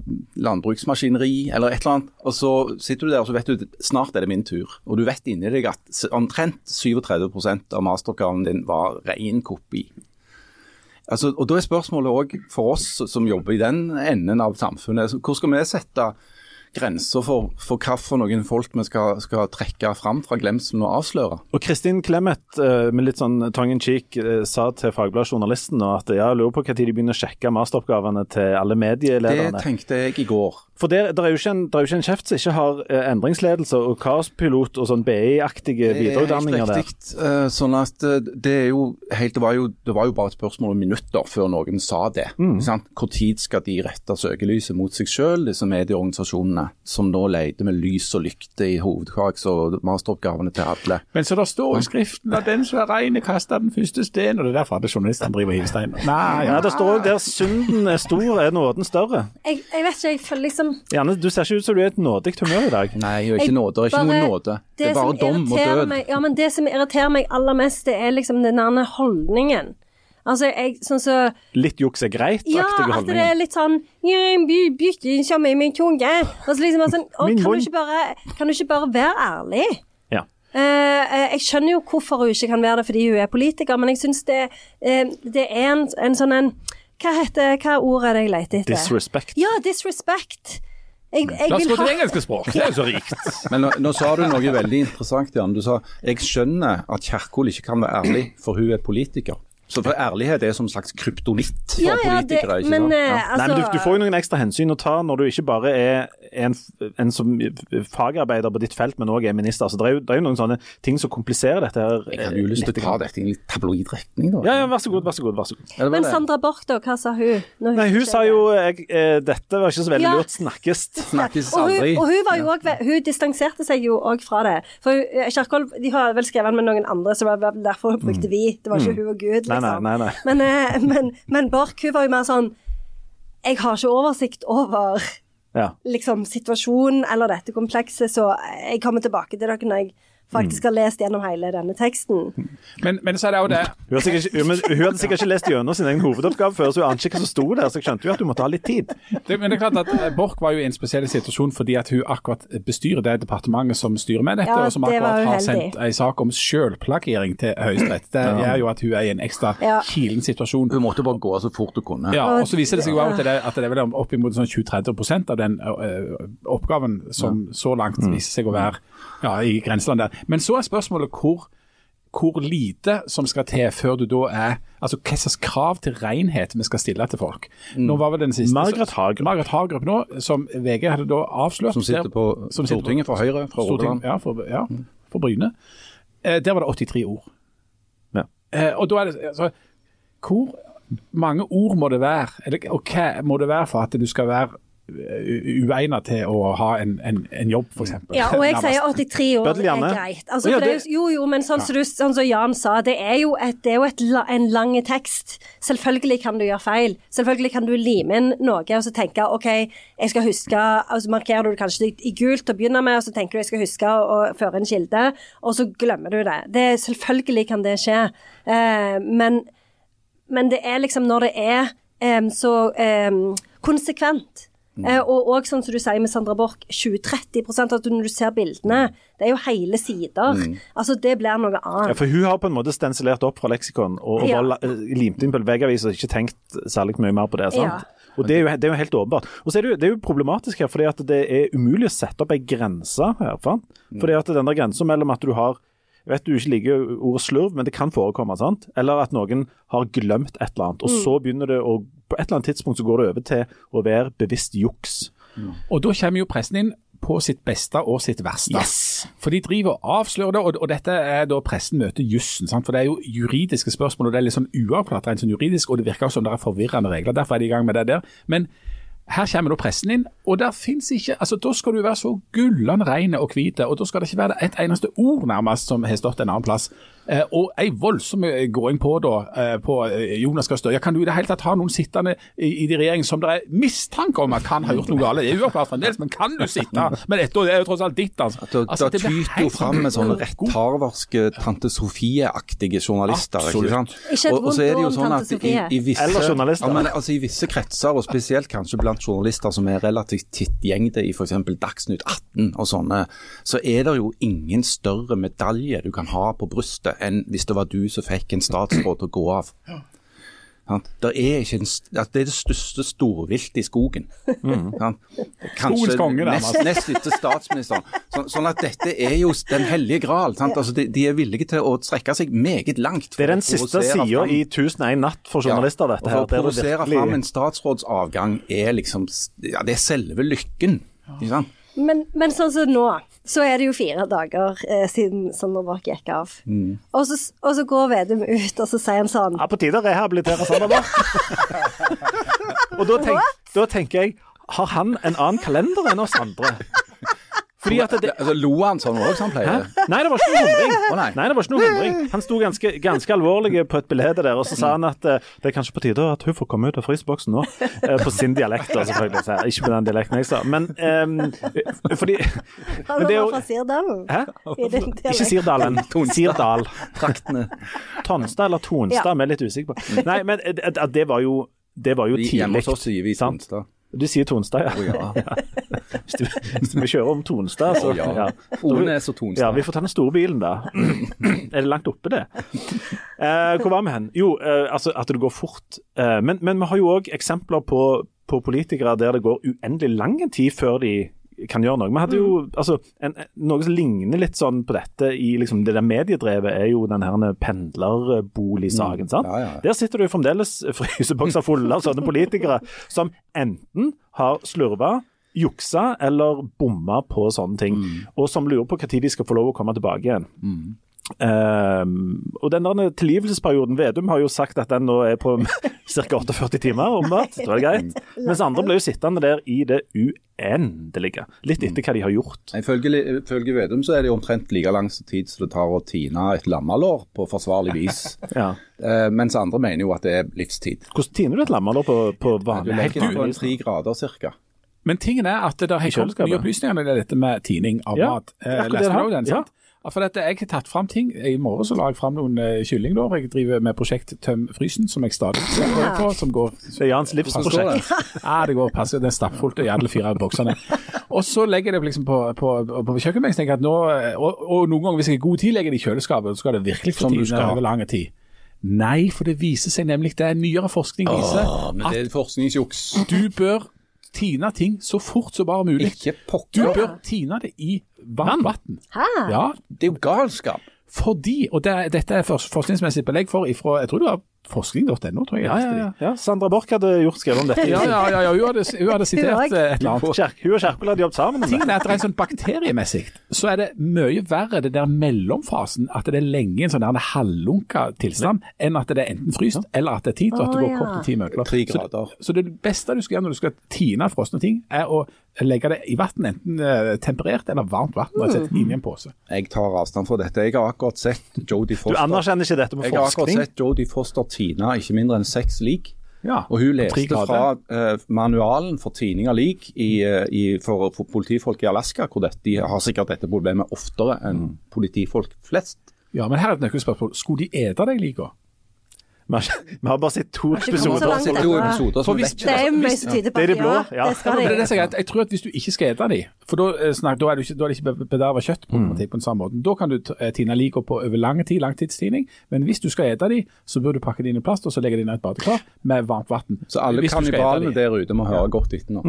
Speaker 2: landbruksmaskineri eller et eller annet. Og så sitter du der og så vet du snart er det min tur. Og du vet inni deg at s- omtrent 37 av masteroppgaven din var ren kopi. Altså, og Da er spørsmålet òg for oss som jobber i den enden av samfunnet, så hvor skal vi sette grenser for, for hva for noen folk vi skal, skal trekke fram fra glemselen og avsløre?
Speaker 1: Og Kristin Clemet, eh, med litt sånn tongue in cheek, eh, sa til Fagbladet Journalisten nå at ja, jeg lurer på når de begynner å sjekke masteroppgavene til alle
Speaker 2: Det
Speaker 1: medielederne.
Speaker 2: tenkte jeg i går.
Speaker 1: For der, der, er jo ikke en, der er jo ikke en kjeft som ikke har eh, endringsledelse og kaospilot og sånn BI-aktige videreutdanninger
Speaker 2: Det er
Speaker 1: der.
Speaker 2: helt riktig. Eh, Sånn at eh, det er jo helt Det var jo, det var jo bare et spørsmål om minutter før noen sa det. Mm. Hvor tid skal de rette søkelyset mot seg selv, disse medieorganisasjonene som nå leter med lys og lykte i hovedkaks og masteroppgavene til alle?
Speaker 5: Men så der står i skriften at den som er rein, kaster den første steinen, og det er derfor alle journalistene driver og hiver stein. Nei,
Speaker 1: Ja,
Speaker 5: ja.
Speaker 1: det
Speaker 2: Ah.
Speaker 1: står jo der synden er stor, er nåden større.
Speaker 3: Jeg, jeg vet ikke, jeg føler liksom
Speaker 1: Janne, du ser ikke ut som du er i et nådig humør i dag.
Speaker 2: Nei, det er ikke
Speaker 3: Jeg
Speaker 2: nåde. Det er ikke
Speaker 3: bare-
Speaker 2: noe nåde. Det er bare
Speaker 3: som
Speaker 2: dom og
Speaker 3: irriterer
Speaker 2: død.
Speaker 3: Meg, ja, men det som irriterer meg aller mest, det er liksom den der holdningen. Altså, jeg, sånn så,
Speaker 1: Litt juks er greit-aktige
Speaker 3: ja, at det
Speaker 1: holdninger.
Speaker 3: er litt sånn «Jeg by- bytte ikke med min tunge. Og så liksom, bare sånn, «Å,
Speaker 1: Min
Speaker 3: kan,
Speaker 1: munn.
Speaker 3: du ikke bare, kan du ikke bare være ærlig?
Speaker 1: Ja.
Speaker 3: Eh, eh, jeg skjønner jo hvorfor hun ikke kan være det fordi hun er politiker, men jeg syns det, eh, det er en, en sånn en Hva heter hva ord er det jeg leter etter?
Speaker 1: Disrespect.
Speaker 3: Ja, disrespect. Jeg, jeg
Speaker 5: La oss
Speaker 3: vil
Speaker 5: gå
Speaker 3: ha
Speaker 5: til det engelske språk, det er jo så rikt.
Speaker 2: Men nå, nå sa du noe veldig interessant, Jan. Du sa jeg skjønner at Kjerkol ikke kan være ærlig, for hun er politiker. Så for ærlighet er som en slags kryptonitt for
Speaker 3: Ja, ja, det,
Speaker 2: politikere. ikke
Speaker 3: men
Speaker 2: sant?
Speaker 3: eh,
Speaker 2: Ja.
Speaker 3: altså
Speaker 1: Nei, men du, du får jo noen ekstra hensyn å ta når du ikke bare er en, en som fagarbeider på ditt felt, men òg er minister. Så det er, jo, det er jo noen sånne ting som kompliserer dette her.
Speaker 2: Jeg hadde jo lyst til å ta dette i en litt tabloid retning, da.
Speaker 1: Eh, Ja, ja, vær så god, vær så god. vær så god.
Speaker 2: Ja, det var
Speaker 3: Men
Speaker 2: det.
Speaker 3: Sandra Borch, da, hva sa hun? når
Speaker 1: Nei, hun sa jo jeg, eh, dette var ikke så veldig
Speaker 3: Ja.
Speaker 1: lurt snakkes.
Speaker 2: Snakkes
Speaker 3: og hun,
Speaker 2: aldri.
Speaker 3: og hun, var jo også, ve- hun distanserte seg jo òg fra det. For hun- eh, Kjerkol de har vel skrevet den med noen andre, så det var vel derfor hun brukte vi. Det var ikke hun og Gud,
Speaker 1: Mm. Nei,
Speaker 3: liksom.
Speaker 1: nei, nei, nei.
Speaker 3: Men, eh, men, men Borch, hun var jo mer sånn Jeg har ikke oversikt over
Speaker 1: Ja.
Speaker 3: liksom, situasjonen eller dette komplekset, så jeg kommer tilbake til dere når
Speaker 1: Mm.
Speaker 3: jeg faktisk har lest gjennom hele denne teksten.
Speaker 5: Men, men så er det jo det.
Speaker 1: Hun, har sikkert, ikke- hun, men hun hadde sikkert ikke lest gjennom sin egen hovedoppgave før, så hun ante ikke hva som sto der, så jeg skjønte jo at du måtte ha litt tid.
Speaker 5: det. Men det er klart at eh, Borch var jo i en spesiell situasjon fordi at hun akkurat bestyrer det departementet som styrer med dette,
Speaker 3: Ja,
Speaker 5: og som
Speaker 3: det var
Speaker 5: akkurat har
Speaker 3: uheldig.
Speaker 5: sendt en sak om selvplagiering til Høyesterett. Det gjør jo at hun er i en ekstra
Speaker 3: Ja.
Speaker 5: kilen situasjon.
Speaker 2: Hun måtte bare gå så fort hun kunne.
Speaker 5: Ja, og så viser det seg jo også at det, at det er vel oppimot sånn 20-30 av den ø, ø, oppgaven som så langt
Speaker 2: Mm.
Speaker 5: viser seg å være ja, i grenseland der. Men så er spørsmålet hvor, hvor lite som skal til før du da er Altså hva slags krav til renhet vi skal stille til folk.
Speaker 2: Mm.
Speaker 5: Nå var vel den siste
Speaker 1: Margaret Hagerup.
Speaker 5: Margaret Hagerup nå, som VG hadde da avslørt
Speaker 2: Som sitter
Speaker 5: der-
Speaker 2: på
Speaker 5: som sitter på-
Speaker 2: Stortinget fra Høyre, fra Rogaland.
Speaker 5: Stortinget, Ja, for, ja, for Bryne. Eh, der var det 83 ord.
Speaker 1: Ja.
Speaker 5: Eh, og da er det altså, Hvor mange ord må det være, eller, og hva må det være for at du skal være eh, u- uegnet til å ha en, en, en jobb, f.eks.?
Speaker 3: Ja,
Speaker 5: *laughs*
Speaker 3: og jeg sier 83 år
Speaker 1: Bøddel, Janne.
Speaker 3: er greit. Altså,
Speaker 1: Å, ja,
Speaker 3: for det, er
Speaker 1: det-
Speaker 3: jo, jo, jo, men sånn som du- sånn som Jan sa, det er jo, et, det er jo et, la- en lang tekst. Selvfølgelig kan du gjøre feil. Selvfølgelig kan du lime inn noe og så tenke OK, jeg skal huske Og så markerer du det kanskje i gult til å begynne med, og så tenker du jeg skal huske å å føre en kilde, og så glemmer du det. det selvfølgelig kan det skje. Eh, men, men det er liksom når det er em, så em, konsekvent.
Speaker 1: Mm.
Speaker 3: Eh, og og sånn som du sier med Sandra Borch, 20-30 at du- når du ser bildene Det er jo hele sider. Altså, det blir noe
Speaker 1: Mm. Ja,
Speaker 3: annet.
Speaker 1: For hun har på en måte stensilert opp fra leksikon og, og
Speaker 3: Ja.
Speaker 1: bare la- eh, limt inn på en veggavis og ikke tenkt særlig mye mer på det. sant? Og det er, jo, det er jo helt åpenbart. Og så er det, jo, det er jo problematisk her, fordi at det er umulig å sette opp ei grense her. sant? Fordi at den der grensa mellom at du har jeg vet du ikke liker ordet slurv, men det kan forekomme. sant? Eller at noen har glemt et eller annet, og så begynner det å På et eller annet tidspunkt så går det over til å være bevisst juks.
Speaker 5: Og da kommer jo pressen inn på sitt beste og sitt verste. For de driver og avslører det, og, og dette er da pressen møter jussen. sant? For det er jo juridiske spørsmål, og det er litt sånn uavklart rent sånn juridisk, og det virker som det er forvirrende regler. Derfor er de i gang med det der. Men her kommer da pressen inn, og der finnes ikke altså Da skal du være så gullende rein og hvit, og da skal det ikke være et eneste ord nærmest som har stått en annen plass. Eh, og ei voldsom eh, gåing på da, eh, på eh, Jonas Gahr Støre. Kan du i det hele tatt ha noen sittende i, i de regjeringen som det er mistanke om at kan ha gjort noe galt? Det er uavklart fremdeles, men kan du sitte med dette? Det er jo tross alt ditt, altså.
Speaker 2: Da,
Speaker 5: altså,
Speaker 2: da
Speaker 5: det
Speaker 2: tyter
Speaker 5: blir
Speaker 2: jo
Speaker 5: helt
Speaker 2: fram med sånne
Speaker 5: sånn-
Speaker 2: rettharverske tante Sofie-aktige journalister.
Speaker 5: Absolutt.
Speaker 2: Ikke sant?
Speaker 3: Ikke et
Speaker 2: Og, og så er det jo
Speaker 3: vondt ord om
Speaker 2: sånn
Speaker 3: tante
Speaker 2: at i,
Speaker 3: Sofie.
Speaker 2: i, visse,
Speaker 1: Eller journalister.
Speaker 2: ja, men, altså, I visse kretser, og spesielt kanskje blant journalister som er relativt tittgjengde i f.eks. Dagsnytt 18 og sånne, så er det jo ingen større medalje du kan ha på brystet enn hvis det var du som fikk en statsråd til å gå av. Sant? Der er ikke en, st- at det er det største storviltet i skogen. Sant?
Speaker 5: Skogens
Speaker 2: Kanskje
Speaker 5: konge, nærmest.
Speaker 2: nest, nest etter statsministeren. Så, sånn at dette er jo den hellige gral. Sant? Altså, de, de er villige til å strekke seg meget langt.
Speaker 1: Det er den siste sida i 1001 natt for journalister, dette her.
Speaker 2: Og for å
Speaker 1: der det
Speaker 2: provosere
Speaker 1: virkelig-
Speaker 2: fram en statsrådsavgang er liksom s- Ja, det er selve lykken. Ikke sant?
Speaker 3: Men, men sånn som nå, så er det jo fire dager eh, siden Sander Borch gikk av. Og, så, og så går Vedum ut, og så sier han sånn
Speaker 1: Mm. Ja, på tide å rehabilitere Sander
Speaker 2: *laughs*
Speaker 1: Borch. og da, tenk, da tenker jeg, har han en annen kalender enn oss andre? Fordi at det,
Speaker 2: Altså, lo han sånn òg, som
Speaker 1: Hæ?
Speaker 2: han pleier?
Speaker 1: Nei, det var ikke noe humring.
Speaker 2: Å, nei.
Speaker 1: Nei, det var ikke noe humring. Han sto ganske, ganske alvorlig på et bilde der, og så sa han at eh, det er kanskje på tide at hun får komme ut av fryseboksen nå. eh, På sin dialekt, da, selvfølgelig. Så, ikke på den dialekten jeg sa. Men ehm, fordi
Speaker 3: Han
Speaker 1: men det er
Speaker 3: var
Speaker 1: jo-
Speaker 3: fra Sirdalen.
Speaker 1: Hæ?
Speaker 3: I den
Speaker 1: Ikke
Speaker 3: dialekten.
Speaker 1: Sirdalen. Sirdal.
Speaker 2: Traktene.
Speaker 1: Tonstad eller Tonstad,
Speaker 3: Ja.
Speaker 1: vi er litt usikre på. Nei, men eh, at- at det var jo det var jo
Speaker 2: Vi- Hjemme
Speaker 1: tidlig.
Speaker 2: hos oss sier vi
Speaker 1: sant?
Speaker 2: Tonstad.
Speaker 1: Du sier Tonstad, ja.
Speaker 2: Å ja.
Speaker 1: Hvis, du, hvis vi kjører om Tonstad, så
Speaker 2: Å ja.
Speaker 1: Da-
Speaker 2: Ornes og Tonstad.
Speaker 1: Ja, vi får ta den store bilen, da.
Speaker 2: *clears throat*
Speaker 1: er det langt oppe, det? Eh, hvor var vi hen? Jo, eh, altså at det går fort. Eh, men, men vi har jo òg eksempler på, på politikere der det går uendelig lang tid før de kan gjøre noe. Vi hadde jo
Speaker 2: Mm.
Speaker 1: altså, en, en- Noe som ligner litt sånn på dette i liksom, det der mediedrevet, er jo den her pendlerboligsaken. sant?
Speaker 2: Mm. Ja, ja, ja.
Speaker 1: Der sitter det jo fremdeles frysebokser fulle av sånne politikere som enten har slurva, juksa eller bomma på sånne ting,
Speaker 2: Mm.
Speaker 1: og som lurer på når de skal få lov å komme tilbake igjen. Ehm, og den der tilgivelsesperioden Vedum har jo sagt at den nå er på *laughs* ca. 48 timer, omvendt. Det var greit. Mens andre ble jo sittende der i det uendelige. Litt etter hva de har gjort.
Speaker 2: Nei, Ifølge ifølge Vedum så er det jo omtrent like lang tid som det tar å tine et lammelår på forsvarlig vis.
Speaker 1: *laughs* Ja.
Speaker 2: Eh, mens andre mener jo at det er livstid.
Speaker 1: Hvordan tiner du et lammer da på, på
Speaker 2: Du
Speaker 1: vanlig helt
Speaker 2: legger det på
Speaker 1: vanlig
Speaker 2: en
Speaker 1: vis?
Speaker 2: tre grader cirka.
Speaker 5: Men tingen er at det har kommet
Speaker 1: kjøleskapet.
Speaker 5: nye opplysninger når det er dette med tining av
Speaker 1: Ja,
Speaker 5: mat. Eh,
Speaker 1: det er akkurat det
Speaker 5: Leste
Speaker 1: det har.
Speaker 5: du den, sant? Ja, For dette, jeg har tatt fram ting. I morgen så la jeg fram noen eh, kyllinglår. Jeg driver med prosjekt Tøm frysen, som jeg stadig prøver på. Som går
Speaker 1: Det er Jans
Speaker 2: Hvordan står
Speaker 1: livsprosjekt.
Speaker 2: det?
Speaker 5: Ja, det går passer. Det er stappfullt i alle fire boksene. Og så legger jeg det liksom på, på, på kjøkkenbenken. tenker jeg at nå, eh, og, og noen ganger hvis jeg er god tid, legger jeg det i kjøleskapet. Så skal det virkelig få
Speaker 2: Som Sånn du
Speaker 5: tid
Speaker 2: skal.
Speaker 5: over lang tid. Nei, for det viser seg nemlig, det er nyere forskning viser,
Speaker 2: Ja, men det er forskningsjuks.
Speaker 5: at du bør tine ting så fort som bare mulig.
Speaker 2: Ikke
Speaker 5: Du
Speaker 2: pokker.
Speaker 5: bør tine det i varmt vann.
Speaker 3: Hæ?
Speaker 5: Ja,
Speaker 2: Det er jo galskap.
Speaker 5: fordi, og det, dette er først- forskningsmessig belegg for ifra, jeg tror det var forskning.no, tror jeg. jeg
Speaker 1: Ja,
Speaker 5: leste
Speaker 1: ja,
Speaker 5: det i.
Speaker 1: ja. ja, Sandra Borch hadde gjort skrevet om dette. i
Speaker 5: Ja, ja, ja, ja, hun hadde, hun hadde sitert eh, et eller annet.
Speaker 1: Kjerk- Hun og Kjerkol hadde jobbet sammen om det.
Speaker 5: Tingen er at rent sånn bakteriemessig så er det mye verre det der mellomfasen, at det er lenge i en sånn der halvlunka tilstand, enn at det er enten fryst eller at det er tid, og at
Speaker 3: Å,
Speaker 5: det går
Speaker 3: ja.
Speaker 5: kort til ti minutter.
Speaker 2: Tre
Speaker 5: Så det-
Speaker 2: grader.
Speaker 5: Så det beste du skal gjøre når du skal tine frosne ting, er å legge det i vann, enten eh, temperert eller varmt vann, og sette
Speaker 3: Mm.
Speaker 5: det inn i en pose.
Speaker 2: Jeg tar avstand fra dette. Jeg har akkurat sett
Speaker 1: Du
Speaker 2: Jodie Foster
Speaker 1: anerkjenner ikke dette med
Speaker 2: Jeg har akkurat
Speaker 1: forskning?
Speaker 2: sett Jodie Foster tine ikke mindre enn seks lik.
Speaker 5: Ja,
Speaker 2: Og hun
Speaker 5: tre
Speaker 2: leste
Speaker 5: grader.
Speaker 2: fra eh, manualen for tining av lik i, eh, i, for, for politifolk i Alaska, hvor dette, de har sikkert dette problemet oftere enn politifolk flest.
Speaker 5: Ja, men her er et nøkkelspørsmål. Skulle de ete deg like?
Speaker 1: Vi har ikke- vi har bare sett to
Speaker 3: ikke kommet så
Speaker 1: episoder.
Speaker 3: langt.
Speaker 2: Så det er jo episoder som
Speaker 5: For hvis-
Speaker 2: vet
Speaker 3: Det
Speaker 2: ikke-
Speaker 3: er jo mye som tyder på
Speaker 1: Det er
Speaker 3: at
Speaker 1: de blå, ja.
Speaker 3: det skal
Speaker 5: Ja, men det
Speaker 3: de.
Speaker 5: er
Speaker 1: *laughs*
Speaker 5: det som er greit. Jeg tror at hvis du ikke skal ete de, for da, eh, snak, da er det ikke, da er det ikke bederva
Speaker 1: Mm.
Speaker 5: kjøttproblematikk på den samme måten. Da kan du t- eh, tine liker på over lang tid, langtidstining, men hvis du skal ete de, så bør du pakke de inn i plast og så legge de inn i et badekar med varmt vann.
Speaker 2: Så alle
Speaker 5: Hvis du skal
Speaker 2: kannibalene
Speaker 5: ete de.
Speaker 2: der ute må høre godt etter nå.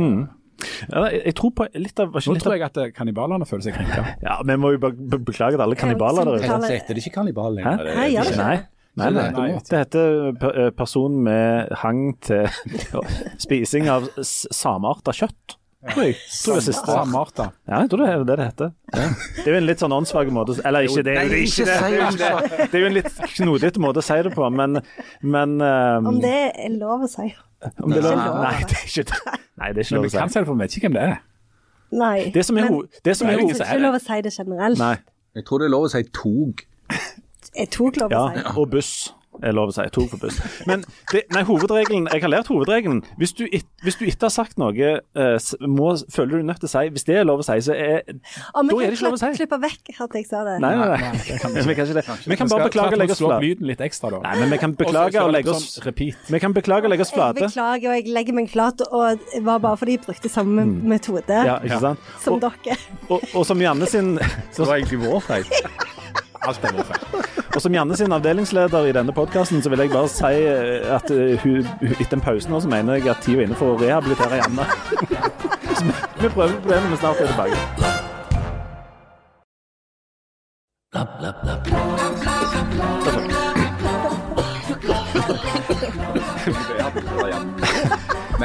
Speaker 1: Ja, jeg, jeg tror på litt av var ikke
Speaker 5: Nå
Speaker 1: litt
Speaker 5: tror
Speaker 1: av-
Speaker 5: jeg at eh, kannibalene føler seg krenka.
Speaker 1: Ja, Vi må jo bare be beklage til alle kannibaler der ute.
Speaker 3: Ja.
Speaker 2: Jeg så heter det ikke kannibal lenger.
Speaker 1: Hæ?
Speaker 2: Det-
Speaker 3: Nei, gjør det ikke.
Speaker 1: Nei. Nei, nei,
Speaker 2: Nei.
Speaker 1: Det heter pe- eh, person med hang til *laughs* spising av s- samearta kjøtt. Tror jeg. Tror jeg det siste.
Speaker 5: Samarta.
Speaker 1: Ja, jeg tror det er det det heter. Det er jo en litt sånn åndssvak måte å- Eller ikke, det er jo det er ikke det. Det er jo ikke det. Det er jo en litt knotete måte å si det på, men, men eh,
Speaker 3: Om det er lov å si.
Speaker 1: om det er lov-
Speaker 2: Nei, nei.
Speaker 1: Nei, det er ikke det. Nei, det er ikke
Speaker 5: Men
Speaker 1: lov
Speaker 5: vi
Speaker 1: å si.
Speaker 5: kan si det, for vi vet ikke hvem det er.
Speaker 3: Nei.
Speaker 1: Det som er
Speaker 3: Men-
Speaker 1: ho- det som er
Speaker 3: Men
Speaker 1: ho-
Speaker 3: jeg tror ikke lov å si det generelt.
Speaker 1: Nei.
Speaker 2: Jeg tror det er lov å si tog.
Speaker 3: Jeg tok lov å si
Speaker 1: Ja, og buss. Er lov å si. Tog på buss. Men det, nei, hovedregelen, jeg har lært hovedregelen. Hvis du, et, hvis du ikke har sagt noe, eh, s- må, føler du nødt til å si Hvis det er lov å si, så er
Speaker 3: Å, men
Speaker 1: Da er
Speaker 3: kan
Speaker 1: det ikke lov å
Speaker 3: klipp-
Speaker 1: si.
Speaker 3: Klippe vekk at jeg sa det.
Speaker 1: Nei, nei, nei. Vi kan ikke det. Vi kan bare
Speaker 5: Skal-
Speaker 1: beklage og legge oss
Speaker 5: Slå opp
Speaker 1: flate.
Speaker 5: lyden litt ekstra, da.
Speaker 1: Nei, men vi kan beklage og legge oss Vi kan beklage og legge oss
Speaker 3: Jeg
Speaker 1: flate.
Speaker 3: beklager, og jeg legger meg flat, og det var bare fordi jeg brukte samme metode
Speaker 1: Mm. Ja, ikke sant?
Speaker 3: som
Speaker 1: Og,
Speaker 3: dere.
Speaker 1: og, og som Janne sin
Speaker 2: Det var egentlig vår feil.
Speaker 5: Alt har vært feil.
Speaker 1: Og som Janne sin avdelingsleder i denne podkasten, så vil jeg bare si eh, at eh, hun, hun- etter en pause nå, så mener jeg at tida er inne for å rehabilitere Janne. Så vi- vi prøver på det når vi snart er tilbake.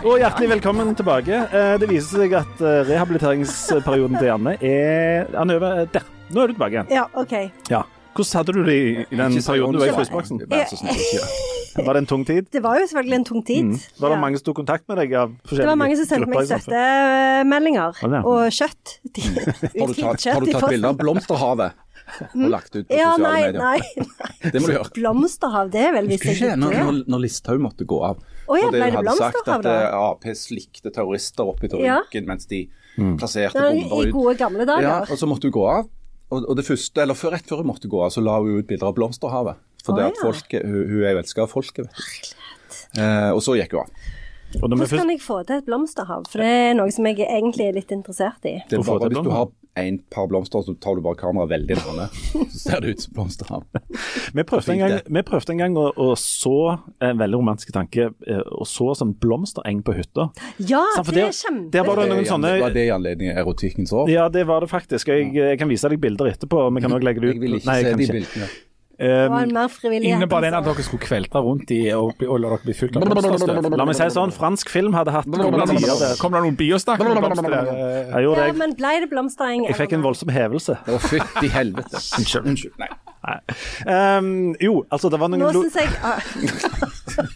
Speaker 1: Og hjertelig velkommen tilbake. Eh, Det viser seg at eh, rehabiliteringsperioden til Janne er Han er over der. Nå er du tilbake igjen.
Speaker 3: Ja, OK.
Speaker 1: Ja. Hvordan hadde du det i i den perioden du var i fryseboksen?
Speaker 2: Vær så snill, ikke gjør
Speaker 1: Var det en tung tid?
Speaker 3: Det var jo selvfølgelig en tung tid.
Speaker 1: Mm. Var det
Speaker 3: Ja.
Speaker 1: mange som tok kontakt med deg? Av
Speaker 3: det var mange som sendte meg
Speaker 1: altså?
Speaker 3: støttemeldinger.
Speaker 1: Var det det?
Speaker 3: Og
Speaker 1: *laughs*
Speaker 3: kjøtt. De-
Speaker 2: Har du tatt, har du
Speaker 3: i
Speaker 2: tatt
Speaker 3: posten.
Speaker 2: bilder av blomsterhavet og lagt ut på
Speaker 3: Ja,
Speaker 2: sosiale
Speaker 3: nei,
Speaker 2: medier?
Speaker 3: nei.
Speaker 2: *laughs* Det må du gjøre.
Speaker 3: Blomsterhav, det er vel hvis
Speaker 2: Husker
Speaker 3: jeg
Speaker 2: ikke når,
Speaker 3: ikke
Speaker 2: når, når Listhaug måtte gå av.
Speaker 3: Å ja,
Speaker 2: fordi
Speaker 3: ble
Speaker 2: hun
Speaker 3: det
Speaker 2: hadde sagt
Speaker 3: blomsterhav
Speaker 2: at
Speaker 3: da?
Speaker 2: eh, Ap slikte terrorister opp i
Speaker 3: Ja.
Speaker 2: ryggen mens de
Speaker 1: Mm.
Speaker 2: plasserte
Speaker 3: Nei,
Speaker 2: bomber
Speaker 3: i
Speaker 2: ut.
Speaker 3: gode gamle dager.
Speaker 2: Ja, og så måtte hun gå av. Og, og det første, eller før, rett før hun måtte gå av, så la hun ut bilder av blomsterhavet. For det
Speaker 3: Å,
Speaker 2: at
Speaker 3: ja.
Speaker 2: folket, hun, hun er jo elska av folket, vet du. Eh, og så gikk hun av.
Speaker 1: Og når vi
Speaker 3: Hvordan
Speaker 1: først
Speaker 3: kan jeg få til et blomsterhav? For det er noe som jeg egentlig er litt interessert i.
Speaker 2: Det er
Speaker 1: Hvorfor det
Speaker 2: bare, hvis du
Speaker 1: blomster?
Speaker 2: har en par blomster, så tar du bare kameraet veldig nærme. *laughs* Så ser det ut som blomsterhav.
Speaker 1: Vi prøvde en
Speaker 2: Fint,
Speaker 1: gang,
Speaker 2: det.
Speaker 1: vi prøvde en gang å, å så en veldig romantisk tanke, eh, å så sånn blomstereng på hytta.
Speaker 3: Ja,
Speaker 1: Sant, for
Speaker 3: det
Speaker 1: der-
Speaker 3: er kjempe...
Speaker 1: der var det noen
Speaker 2: Det er i anle-
Speaker 1: sånne-
Speaker 2: Var det i anledning erotikkens år?
Speaker 1: Ja, det var det faktisk. og Jeg, jeg kan vise deg bilder etterpå. Vi kan også legge det ut.
Speaker 2: Jeg vil ikke
Speaker 1: Nei, jeg
Speaker 2: se
Speaker 1: kan
Speaker 2: de
Speaker 1: ikke.
Speaker 2: bildene.
Speaker 3: Det var en mer frivillighet.
Speaker 5: Innebar den at
Speaker 3: altså.
Speaker 5: dere skulle kvelte rundt i og, bli- og la dere bli fylt av blomsterstøv?
Speaker 1: La meg si sånn, fransk film hadde hatt gode tider der.
Speaker 5: Kom det noen biostakk med blomster?
Speaker 1: Jeg gjorde
Speaker 3: Ja,
Speaker 1: det.
Speaker 3: men ble det blomstereng?
Speaker 1: Jeg fikk en voldsom hevelse.
Speaker 2: Å, fytti helvete. Unnskyld. Nei.
Speaker 1: Nei. Ehm, jo, altså, det var noen
Speaker 3: Nå
Speaker 1: lo-
Speaker 3: syns jeg
Speaker 1: *laughs*
Speaker 3: ah,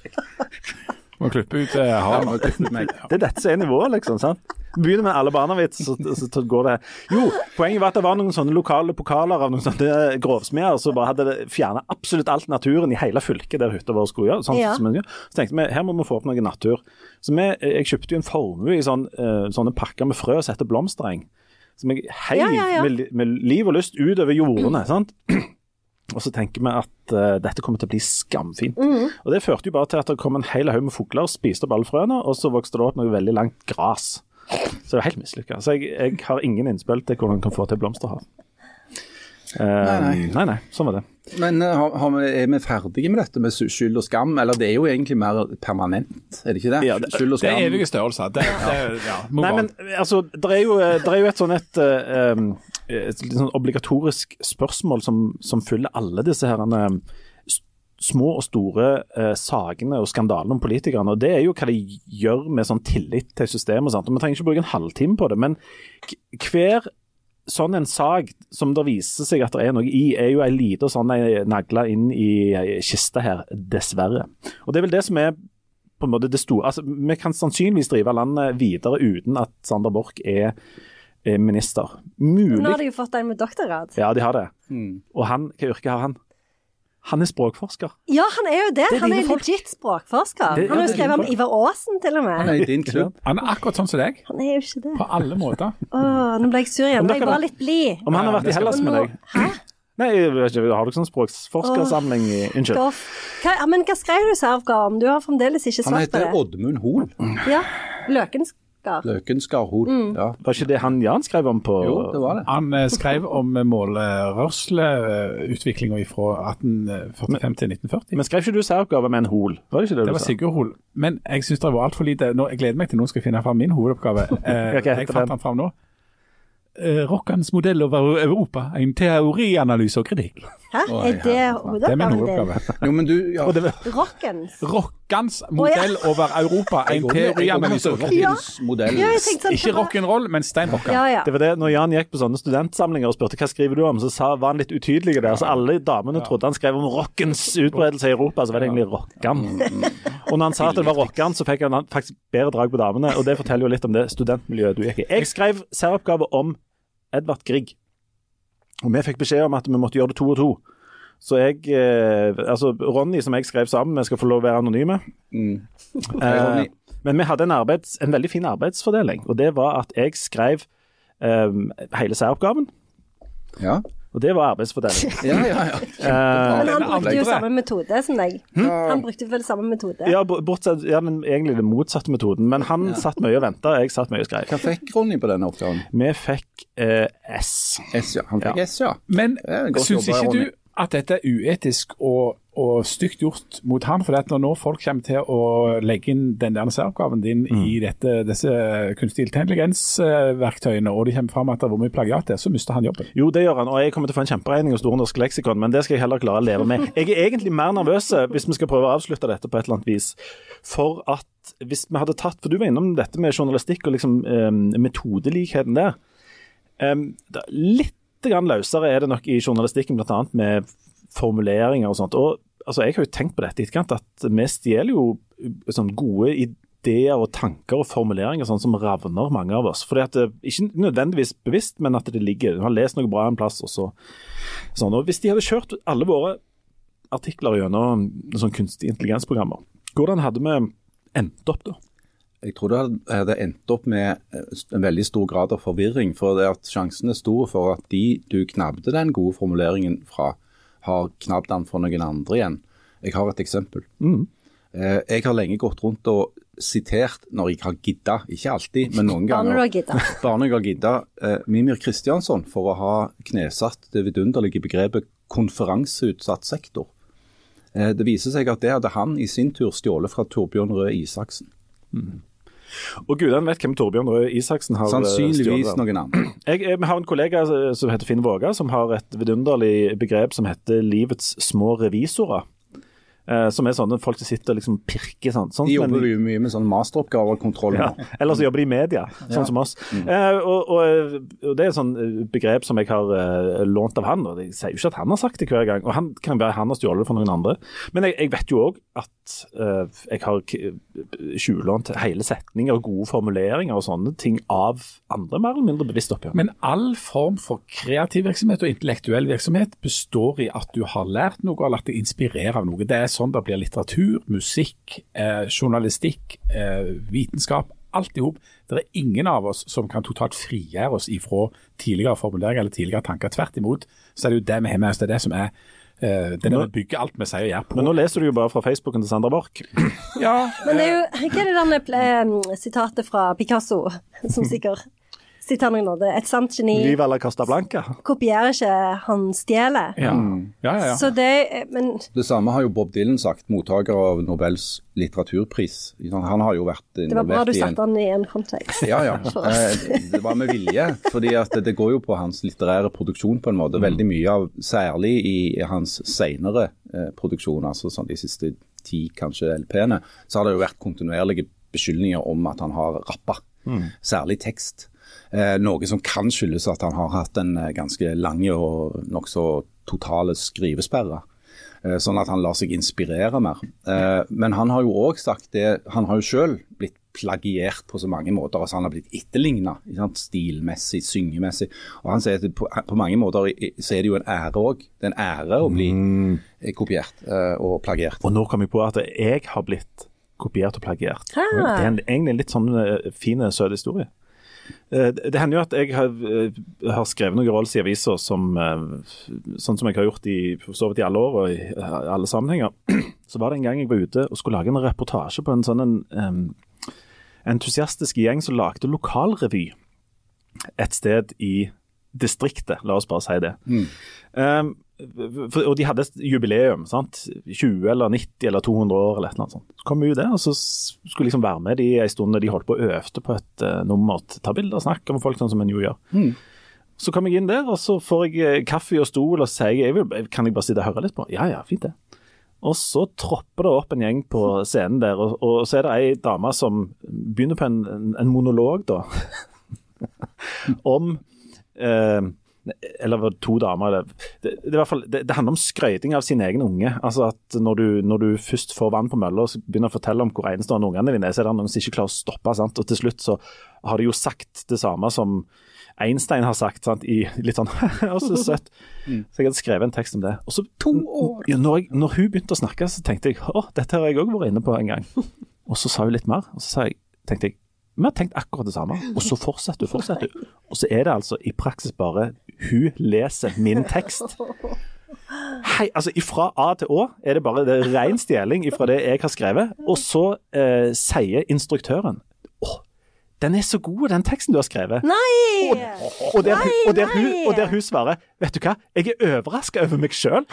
Speaker 5: Må klippe ut eh,
Speaker 2: Ja,
Speaker 5: haren.
Speaker 2: nå klippet meg.
Speaker 1: Det er dette som er nivået, liksom. sant? Begynner med alle barna-vits, så, så, så går det Jo, poenget var at det var noen sånne lokale pokaler av noen sånne grovsmeder som bare hadde fjerna absolutt alt naturen i hele fylket der hytta vår skulle gjøre. Sånn,
Speaker 3: Ja.
Speaker 1: som en gjør. Så tenkte vi her må vi få opp noe natur. Så vi, jeg kjøpte jo en formue i sånn, eh, sånne pakker med frø som heter blomstereng. Som jeg heiv
Speaker 3: Ja, ja, ja.
Speaker 1: Med, li- med liv og lyst utover jordene. sant? *clears throat* Og så tenker vi at eh, dette kommer til å bli skamfint.
Speaker 3: Mhm.
Speaker 1: Og det førte jo bare til at det kom en hel haug med fugler og spiste opp alle frøene, og så vokste det opp noe veldig langt gras. Så det var helt mislykka. Så jeg, jeg har ingen innspill til hvordan en kan få til blomsterhav. Eh,
Speaker 2: Nei,
Speaker 1: nei, nei. Sånn var det.
Speaker 2: Men eh, har, har vi, er vi ferdige med dette med sy- skyld og skam? Eller det er jo egentlig mer permanent, er det ikke det?
Speaker 1: Ja, det-
Speaker 2: skyld og
Speaker 5: Det
Speaker 2: skam.
Speaker 5: er evige størrelser. Det, det, ja, må
Speaker 1: Nei,
Speaker 5: bare-
Speaker 1: men altså, det er jo, der er jo et sånn et, eh, um, et litt sånn obligatorisk spørsmål som, som fyller alle disse herrene små og store eh, sakene og skandalene om politikerne. og Det er jo hva de gjør med sånn tillit til systemet. og sånt, og Vi trenger ikke bruke en halvtime på det, men k- hver sånn en sak som det viser seg at det er noe i, er jo ei lita sånn ei nagle inn i ei kiste her, dessverre. Og det er vel det som er på en måte det store altså, Vi kan sannsynligvis drive landet videre uten at Sander Borch er er minister.
Speaker 3: Nå har
Speaker 1: Mulig
Speaker 3: de jo fått den med doktorgrad.
Speaker 1: Ja, de har det.
Speaker 5: Mm.
Speaker 1: Og han, hva yrke har han? Han er språkforsker.
Speaker 3: Ja, han er jo det.
Speaker 1: Det er
Speaker 3: Han er
Speaker 1: dine folk.
Speaker 3: legit språkforsker.
Speaker 1: Det- ja,
Speaker 3: Han har
Speaker 1: det
Speaker 3: jo
Speaker 1: er
Speaker 3: skrevet om
Speaker 1: dine
Speaker 3: Ivar Aasen, til og med.
Speaker 2: Nei, din
Speaker 3: *laughs*
Speaker 2: klubb.
Speaker 5: Han er akkurat sånn som deg,
Speaker 3: Han er jo ikke det.
Speaker 5: på alle måter.
Speaker 3: Å, nå ble jeg sur igjen.
Speaker 1: Men
Speaker 3: Men
Speaker 1: dere-
Speaker 3: jeg var litt blid.
Speaker 1: Om han har
Speaker 5: Ja,
Speaker 1: vært i
Speaker 5: det skal-
Speaker 1: Hellas med deg?
Speaker 3: Hæ?
Speaker 1: Nei, jeg vet ikke, har dere sånn språksforskersamling i Unnskyld.
Speaker 3: Goff. Hva, ja, men hva skrev du, Servgar, om? Du har fremdeles ikke
Speaker 2: Han
Speaker 3: svart på
Speaker 2: heter
Speaker 3: det.
Speaker 2: Oddmund Hoel.
Speaker 3: Ja, Løkenskar.
Speaker 2: Løkenskar Hoel.
Speaker 3: Mm.
Speaker 2: Ja.
Speaker 1: Var ikke det han Jan skrev om på
Speaker 2: Jo, det var det.
Speaker 5: Han eh, skrev om målerørsleutviklinga fra 1845 eh, til 1940.
Speaker 1: Men skrev ikke du særoppgave med en hol? Var det ikke det,
Speaker 5: Det
Speaker 1: du
Speaker 5: var
Speaker 1: sa?
Speaker 5: Sigurd Hoel. Men jeg syns det var altfor lite nå, Jeg gleder meg til noen skal finne fram min hovedoppgave. Eh,
Speaker 1: Hva heter
Speaker 5: jeg fant
Speaker 1: den?
Speaker 5: den fram nå. Eh, Rockans modell over Europa. En teorianalyse og kritikk.
Speaker 3: Hæ,
Speaker 2: Oi,
Speaker 3: er det
Speaker 5: Det er
Speaker 3: hovedoppgaven
Speaker 5: min
Speaker 3: din?
Speaker 5: hovedoppgave.
Speaker 2: Jo, men du ja.
Speaker 3: Rockens?
Speaker 5: Rockans modell over Europa.
Speaker 2: Jeg
Speaker 5: En
Speaker 2: går med- jeg går med
Speaker 5: teorianalyse og kritikk.
Speaker 2: Rockins modell.
Speaker 3: Ja, jeg tenkte sånn
Speaker 5: Ikke
Speaker 3: hva-
Speaker 5: rock'n'roll, men steinrocka.
Speaker 3: Ja, ja.
Speaker 1: Det var det, når Jan gikk på sånne studentsamlinger og spurte hva skriver du om, så sa, var han litt utydelig der. Så alle damene trodde han skrev om rockens utbredelse i Europa, så var det egentlig rockan. Og når han sa at det var rockan, så fikk han faktisk bedre drag på damene. Og det forteller jo litt om det studentmiljøet du gikk i. Jeg skrev særoppgave om Edvard Grieg. Og vi fikk beskjed om at vi måtte gjøre det to og to. Så jeg eh, Altså, Ronny, som jeg skrev sammen med, skal få lov å være anonyme.
Speaker 2: Hei,
Speaker 1: Eh,
Speaker 2: Ronny.
Speaker 1: Men vi hadde en, arbeids, en veldig fin arbeidsfordeling, og det var at jeg skrev eh, hele særoppgaven.
Speaker 2: Ja.
Speaker 1: Og det var
Speaker 2: *laughs*
Speaker 1: arbeidsfordeling.
Speaker 2: Ja, ja, ja.
Speaker 3: Men han
Speaker 5: den
Speaker 3: brukte jo
Speaker 5: andre-
Speaker 3: samme metode som deg. Han brukte vel samme metode.
Speaker 1: Ja, b- bortsett ja, men egentlig den motsatte metoden. Men han satt mye og venta, jeg satt mye og skrev.
Speaker 2: Hva fikk Ronny på denne oppgaven?
Speaker 1: Vi fikk eh, S.
Speaker 2: S, ja. Han fikk
Speaker 1: Ja.
Speaker 2: S, ja.
Speaker 5: Men
Speaker 2: Ja, godt
Speaker 5: syns
Speaker 2: jobba,
Speaker 5: ikke
Speaker 2: Ronny.
Speaker 5: du at dette er uetisk og, og stygt gjort mot han? For at når nå folk kommer til å legge inn den der særoppgaven din
Speaker 2: Mm.
Speaker 5: i dette, disse kunstig intelligens-verktøyene, og det kommer fram at det har vært mye plagiat der, så mister han jobben.
Speaker 1: Jo, det gjør han, og jeg kommer til å få en kjemperegning hos Store norske leksikon, men det skal jeg heller klare å leve med. Jeg er egentlig mer nervøs, eh, hvis vi skal prøve å avslutte dette på et eller annet vis, for at hvis vi hadde tatt For du var innom dette med journalistikk og liksom eh, metodelikheten der. Em, Ehm, da, litt grann løsere er det nok i journalistikken, bl.a. med formuleringer og sånt. Og altså, jeg har jo tenkt på dette i etterkant, at vi stjeler jo eh, sånn gode ideer og tanker og formuleringer sånn som ravner mange av oss. Fordi at det, Ikke nødvendigvis bevisst, men at det ligger Du har lest noe bra en plass, og så sånn. Og hvis de hadde kjørt alle våre artikler gjennom sånn kunstig intelligensprogrammer, hvordan hadde vi endt opp da?
Speaker 2: Jeg tror det hadde- hadde endt opp med eh, en veldig stor grad av forvirring. For det at sjansen er stor for at de du knabbde den gode formuleringen fra, har knabbd den for noen andre igjen. Jeg har et eksempel. Eh, Jeg har lenge gått rundt og sitert når jeg har gidda, ikke alltid, men noen
Speaker 3: Bare når du
Speaker 2: ganger.
Speaker 3: har
Speaker 2: *laughs*
Speaker 3: gidda.
Speaker 2: Bare når jeg har gidda eh, Mimir Kristiansson for å ha knesatt det vidunderlige begrepet konferanseutsatt sektor. Eh, det viser seg at det hadde han i sin tur stjålet fra Torbjørn Røe Isaksen.
Speaker 1: Og gudene vet hvem Torbjørn Røe Isaksen har eh,
Speaker 2: Sannsynligvis
Speaker 1: stjålet.
Speaker 2: noen andre.
Speaker 1: Jeg, jeg har en kollega eh, som heter Finn Våga, som har et vidunderlig begrep som heter 'livets små revisorer'. Eh, som er sånne folk som sitter og liksom pirker sånn. sånn
Speaker 2: *clears throat* De
Speaker 1: som en-
Speaker 2: jobber jo mye med sånne masteroppgaver og kontroll.
Speaker 1: ja.
Speaker 2: nå.
Speaker 1: Eller så jobber de i media, sånn som oss.
Speaker 2: Mm.
Speaker 1: Eh, og, og, og det er et sånn eh, begrep som jeg har eh, lånt av han, og jeg sier jo ikke at han har sagt det hver gang. Og han kan være han har stjålet det for noen andre. Men jeg, jeg vet jo òg at eh, jeg har k- tjuvlånt hele setninger og gode formuleringer og sånne ting av andre, mer eller mindre bevisst oppgjør.
Speaker 5: Men all form for kreativ virksomhet og intellektuell virksomhet består i at du har lært noe, eller at det inspirerer av noe. Det er sånn det blir litteratur, musikk, eh, journalistikk, eh, vitenskap. Alt i hop. Det er ingen av oss som kan totalt frigjøre oss ifra tidligere formuleringer eller tidligere tanker. Tvert imot så er det jo det vi har med oss. Det er det som er eh, det er det vi bygger alt vi sier og gjør på.
Speaker 1: Men nå leser du jo bare fra Facebooken til Sander Borch.
Speaker 5: Ja,
Speaker 3: Men det er jo Hva er det derne ple- sitatet fra Picasso, som sikkert sitter noen andre Et sant geni
Speaker 1: Liv eller Costa Blanca.
Speaker 3: kopierer ikke, han stjeler.
Speaker 5: ja. ja, ja, ja.
Speaker 3: Så det eh, Men
Speaker 2: Det samme har jo Bob Dylan sagt, mottaker av Nobels litteraturpris. Han har jo vært
Speaker 3: det var bra
Speaker 2: involvert
Speaker 3: du
Speaker 2: i en
Speaker 3: satte han i en kontekst.
Speaker 2: Ja, ja. Eh, Det var med vilje. fordi at det går jo på hans litterære produksjon på en måte. Veldig mye av, særlig i hans senere eh, produksjon, altså sånn de siste ti kanskje LP-ene, så har det jo vært kontinuerlige beskyldninger om at han har rappa. Særlig tekst. Eh, noe som kan skyldes at han har hatt en eh, ganske lang og nokså totale skrivesperre. Eh, Sånn at han lar seg inspirere mer. Eh, Men han har jo òg sagt det Han har jo sjøl blitt plagiert på så mange måter. altså Han har blitt etterligna stilmessig, syngemessig. Og han sier at på, på mange måter i- i- så er det jo en ære òg. Det er en ære å bli
Speaker 1: Mm.
Speaker 2: eh, kopiert eh, og plagiert.
Speaker 1: Og nå kom jeg på at jeg har blitt kopiert og plagiert.
Speaker 3: Ah.
Speaker 1: Det er en, egentlig en litt sånn eh, fin, søt historie. Eh, Det det hender jo at jeg har, eh, har skrevet noen rolls i aviser som eh, Sånn som jeg har gjort i, for så vidt i alle år og i eh, alle sammenhenger. *clears throat* Så var det en gang jeg var ute og skulle lage en reportasje på en sånn en, em, entusiastisk gjeng som lagde lokalrevy et sted i distriktet. La oss bare si det. Um, for, og de hadde et jubileum, sant? 20 eller 90 eller 200 år eller et eller annet sånt. Så kom vi jo der, og så s- skulle liksom være med de en stund når de holdt på og øvde på et eh, nummer. t- Ta bilder og snakke med folk, sånn som en jo gjør. Så kom jeg inn der, og så får jeg eh, kaffe og stol og sier jeg vil, kan jeg bare sitte og høre litt på. Ja, ja, fint det. Og så tropper det opp en gjeng på scenen der, og, og så er det ei dame som begynner på en, en, en monolog, da. *laughs* om eh, Eller var det to damer eller, det, det, er i hvert fall, det, det handler om skrøyting av sin egen unge. Altså at når du, når du først får vann på mølla og så begynner å fortelle om hvor enestående ungene dine er, så er det noen som ikke klarer å stoppe. Sant? Og til slutt så har de jo sagt det samme som Einstein har sagt, sant? i litt sånn *laughs* Og så søtt. Så jeg hadde skrevet en tekst om det. Og så, to år. Ja, når, jeg, når hun begynte å snakke, så tenkte jeg å, dette har jeg òg vært inne på en gang. Og så sa hun litt mer, og så sa jeg, tenkte jeg vi har tenkt akkurat det samme, og så fortsetter du, fortsetter du. Og så er det altså i praksis bare Hun leser min tekst. Hei, altså Fra A til Å er det bare det er ren stjeling fra det jeg har skrevet. Og så eh, sier instruktøren Å, den er så god, den teksten du har skrevet.
Speaker 3: Nei!
Speaker 1: Og der, hun- og, der hun,
Speaker 3: nei.
Speaker 1: og der hun svarer Vet du hva, jeg er overraska over meg sjøl.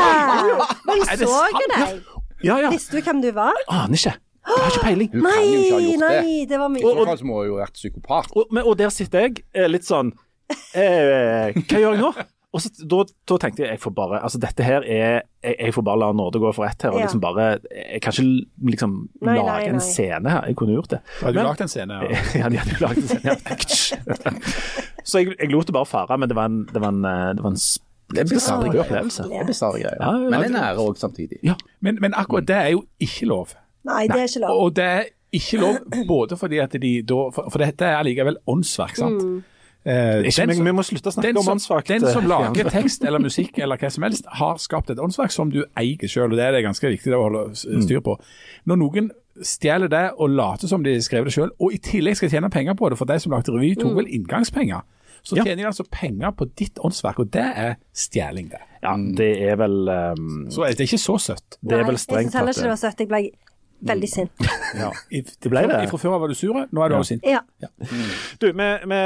Speaker 3: Men
Speaker 1: Er det
Speaker 3: så
Speaker 1: sant?
Speaker 3: jeg deg?
Speaker 1: Ja, ja.
Speaker 3: Visste du hvem du var?
Speaker 1: Aner ikke. Jeg har ikke peiling.
Speaker 2: Hun kan jo ikke ha
Speaker 3: Nei,
Speaker 2: gjort det.
Speaker 3: nei, det var
Speaker 2: I
Speaker 3: mye. sånn.
Speaker 2: så fall så må hun jo ha vært psykopat.
Speaker 1: Og, men, og der sitter jeg eh, litt sånn eh, Hva gjør jeg nå? Og så, da, da tenkte jeg jeg får bare Altså, dette her er Jeg, jeg får bare la nåde gå for ett her, og
Speaker 3: Ja.
Speaker 1: liksom bare Jeg kan ikke liksom
Speaker 3: Nei,
Speaker 1: lage
Speaker 3: nei, nei.
Speaker 1: en scene her. Jeg kunne gjort det.
Speaker 5: Har du
Speaker 1: Men-
Speaker 5: lagd en scene? ja?
Speaker 1: *laughs* ja, de hadde jo laget en scene. ja. så jeg, jeg lot det bare fare, men det var en, det var en, eh, det var en sp-
Speaker 2: Det er
Speaker 1: Ah,
Speaker 2: bisarre greier.
Speaker 1: opplevelse.
Speaker 2: Det er bisarre greier.
Speaker 1: Ja, ja,
Speaker 2: Men
Speaker 1: ja.
Speaker 2: en ære òg,
Speaker 1: *laughs*
Speaker 2: samtidig.
Speaker 5: Men, men akkurat det er jo ikke lov.
Speaker 3: Nei, det er ikke lov.
Speaker 5: Og det er ikke lov både fordi at de da For, for dette er allikevel åndsverk, sant? Eh,
Speaker 1: ikke,
Speaker 5: den
Speaker 1: men
Speaker 5: som-
Speaker 1: vi må slutte å snakke
Speaker 5: den
Speaker 1: om
Speaker 5: som-
Speaker 1: åndsverk.
Speaker 5: Den som
Speaker 1: eh,
Speaker 5: lager
Speaker 1: fjernsyn.
Speaker 5: tekst eller musikk eller hva som helst, har skapt et åndsverk som du eier selv, og det er det ganske viktig å holde s-
Speaker 1: Mm.
Speaker 5: styr på. Når noen stjeler det og later som de skrev det selv, og i tillegg skal tjene penger på det, for de som lagde revy tok vel inngangspenger, så
Speaker 1: Ja.
Speaker 5: tjener de altså penger på ditt åndsverk, og det er stjeling, det.
Speaker 1: Ja, det er vel eh,
Speaker 5: Så det er ikke så søtt.
Speaker 1: Det er
Speaker 3: Nei,
Speaker 1: vel
Speaker 3: Jeg
Speaker 1: strengt
Speaker 3: syns heller
Speaker 1: tatt
Speaker 3: ikke det var søtt. Jeg ble veldig sint.
Speaker 5: I,
Speaker 1: ble det.
Speaker 5: Fra før av var du sur, nå er du også sint.
Speaker 3: Ja.
Speaker 1: Du, vi, vi,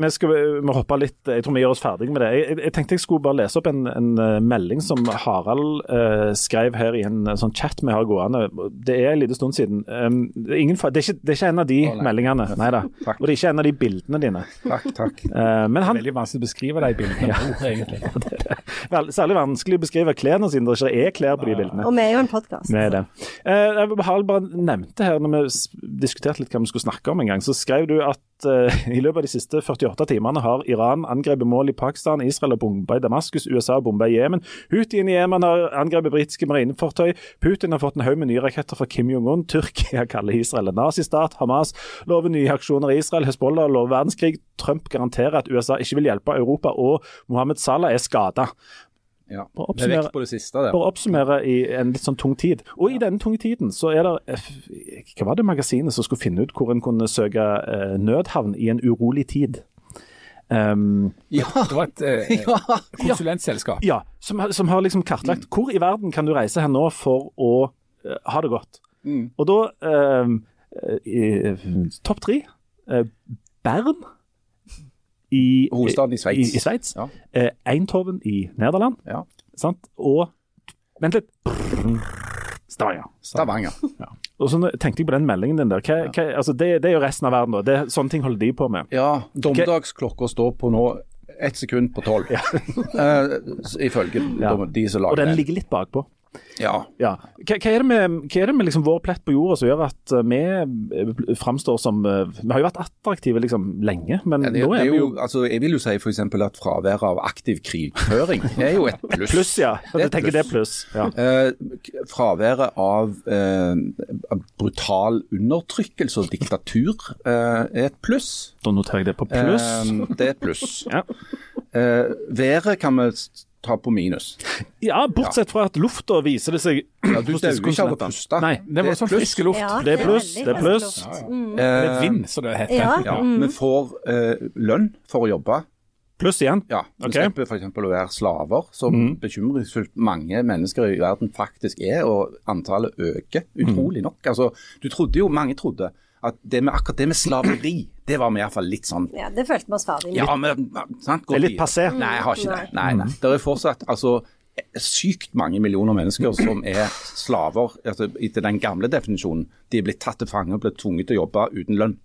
Speaker 1: vi skal vi hopper litt Jeg tror vi gjør oss ferdig med det. Jeg, jeg, jeg tenkte jeg skulle bare lese opp en, en eh, melding som Harald eh, skrev her i en eh, sånn chat vi har gående. Det er en liten stund siden. Um, det, er ingen, fa- det, er ikke, det er ikke en av de
Speaker 2: nei.
Speaker 1: meldingene, nei da.
Speaker 2: *laughs* Takk.
Speaker 1: Og det er ikke en av de bildene dine.
Speaker 2: Takk, takk.
Speaker 1: Eh, men han
Speaker 5: Veldig vanskelig å beskrive de bildene. Ja. egentlig.
Speaker 1: vel, Særlig vanskelig å beskrive klærne sine, det ikke er klær på de bildene.
Speaker 3: Og vi er jo en podkast.
Speaker 1: Vi er det. Eh, jeg vil bare- bare nevnte her, når vi s- diskuterte litt hva vi skulle snakke om en gang, så skrev du at eh, i løpet av de siste 48 timene har Iran angrepet mål i Pakistan, Israel og bomba i Damaskus, USA har bomba i Jemen. Houthiene i Jemen har angrepet britiske marinefartøy. Putin har fått en haug med nye raketter fra Kim Jong-un. Tyrkia *laughs* kaller Israel en nazistat. Hamas lover nye aksjoner i Israel. Hezbollah lover verdenskrig. Trump garanterer at USA ikke vil hjelpe Europa, og Mohammed Salah er skada.
Speaker 2: Ja.
Speaker 1: Bare
Speaker 2: Vi er
Speaker 1: oppsummere-
Speaker 2: vekk på det siste der.
Speaker 1: for å oppsummere i en litt sånn tung tid. Og i denne tunge tiden så er det eh, Hva var det magasinet som skulle finne ut hvor en kunne søke eh, nødhavn i en urolig tid? Um,
Speaker 2: Ja,
Speaker 5: *laughs* Det var et eh,
Speaker 2: ja.
Speaker 5: konsulentselskap.
Speaker 1: ja, som, har- som har liksom
Speaker 2: Mm.
Speaker 1: kartlagt hvor i verden kan du reise her nå for å eh, ha det godt.
Speaker 2: Mm.
Speaker 1: Og da um, eh, i- Topp tre. eh, Bern i
Speaker 2: *laughs* Hovedstaden i Sveits.
Speaker 1: I, i Sveits.
Speaker 2: Ja.
Speaker 1: Eh, Eindhoven i Nederland.
Speaker 2: Ja.
Speaker 1: Sant? Og Vent litt. Stavanger.
Speaker 2: Stavanger.
Speaker 1: Og så tenkte jeg på den meldingen din der. Hva, hva, altså det, det er jo resten av verden, da. Det, sånne ting holder de på med.
Speaker 2: Ja, dommedagsklokka står på nå ett sekund på tolv. *laughs* Eh, s- ifølge dom- de som
Speaker 1: Og
Speaker 2: lager
Speaker 1: den
Speaker 2: den.
Speaker 1: ligger litt bakpå.
Speaker 2: Ja.
Speaker 1: Ja. Hva, hva er det med, hva er det med liksom vår plett på jorda som gjør at eh, vi eh, framstår som eh, Vi har jo vært attraktive liksom lenge, men
Speaker 2: Ja, Det,
Speaker 1: nå er
Speaker 2: det er
Speaker 1: vi jo
Speaker 2: jo, altså, jeg vil jo si f.eks. at fraværet av aktiv
Speaker 1: *laughs*
Speaker 2: krigføring er jo et pluss.
Speaker 1: Pluss, ja.
Speaker 2: Det er
Speaker 1: Jeg tenker det er pluss. Ja.
Speaker 2: Eh, k- fraværet av eh, av brutal undertrykkelse og diktatur eh, er et pluss.
Speaker 1: Da noterer jeg det på pluss.
Speaker 2: Eh, det er et pluss.
Speaker 1: *laughs* Ja.
Speaker 2: Eh, været kan vi s- ta på minus.
Speaker 1: ja, bortsett fra at lufta viser det seg *clears throat*
Speaker 2: Ja, du
Speaker 1: hos
Speaker 2: dauer
Speaker 1: disse
Speaker 2: ikke av å
Speaker 1: konsulentene.
Speaker 2: puste.
Speaker 1: Nei,
Speaker 5: Det var sånn frisk luft.
Speaker 3: Ja,
Speaker 1: Det er pluss,
Speaker 3: veldig Mm,
Speaker 1: det er pluss.
Speaker 3: frisk luft.
Speaker 5: Det
Speaker 2: Eh,
Speaker 5: er vind, som det heter.
Speaker 3: Ja.
Speaker 2: ja,
Speaker 1: Mm.
Speaker 2: Vi får eh, lønn for å jobbe.
Speaker 1: Pluss igjen.
Speaker 2: Ja, Vi
Speaker 1: Ok. Mm.
Speaker 2: slipper f.eks. å være slaver, som bekymringsfullt mange mennesker i verden faktisk er, og antallet øker
Speaker 1: Mm.
Speaker 2: utrolig nok. Altså, du trodde jo, Mange trodde at det med, akkurat det med slaveri, det var vi iallfall litt sånn
Speaker 3: Ja, det følte vi oss ferdig med.
Speaker 2: ja, men, sant, gå
Speaker 1: Det er litt
Speaker 2: videre.
Speaker 1: passé. Mm.
Speaker 2: Nei, jeg har ikke det. Nei, nei. Det er fortsatt altså, sykt mange millioner mennesker som er slaver altså, etter den gamle definisjonen. De er blitt tatt til fange og blitt tvunget til å jobbe uten lønn.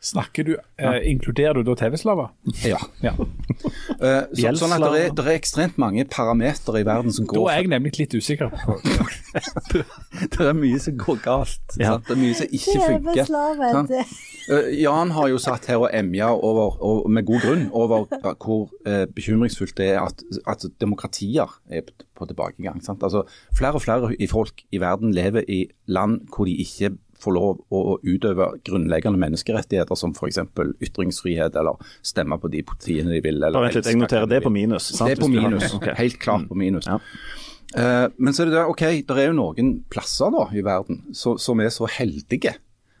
Speaker 5: Snakker du, eh, Inkluderer du da TV-slaver?
Speaker 2: Ja.
Speaker 5: Ja.
Speaker 2: Eh, så, sånn at det er,
Speaker 1: Gjeldsslaver.
Speaker 2: det er ekstremt mange parametere i verden som
Speaker 5: Da
Speaker 2: går
Speaker 5: er jeg nemlig litt usikker. på
Speaker 2: *laughs*
Speaker 5: *laughs*
Speaker 2: Det er mye som går galt. Sant? Det er mye som ikke funker.
Speaker 3: Kjeveslave,
Speaker 2: sant?
Speaker 3: det-
Speaker 2: Eh, Jan har jo satt her og emja over, og med god grunn over ja, hvor eh, bekymringsfullt det er at, at demokratier er på- på tilbakegang. Sant? Altså, flere og flere i folk i verden lever i land hvor de ikke får lov å å utøve grunnleggende menneskerettigheter som f.eks. ytringsfrihet, eller stemme på de partiene de vil. Eller
Speaker 1: Bare vent litt, jeg
Speaker 2: elske hvem
Speaker 1: noterer
Speaker 2: de
Speaker 1: det på
Speaker 2: vil.
Speaker 1: minus. sant?
Speaker 2: Det er på
Speaker 1: Hvis du har-
Speaker 2: minus. Mm.
Speaker 1: Ok.
Speaker 2: Helt klart på minus.
Speaker 1: Ja.
Speaker 2: Eh, men så er det der, ok, det er jo noen plasser da i verden så, som er så heldige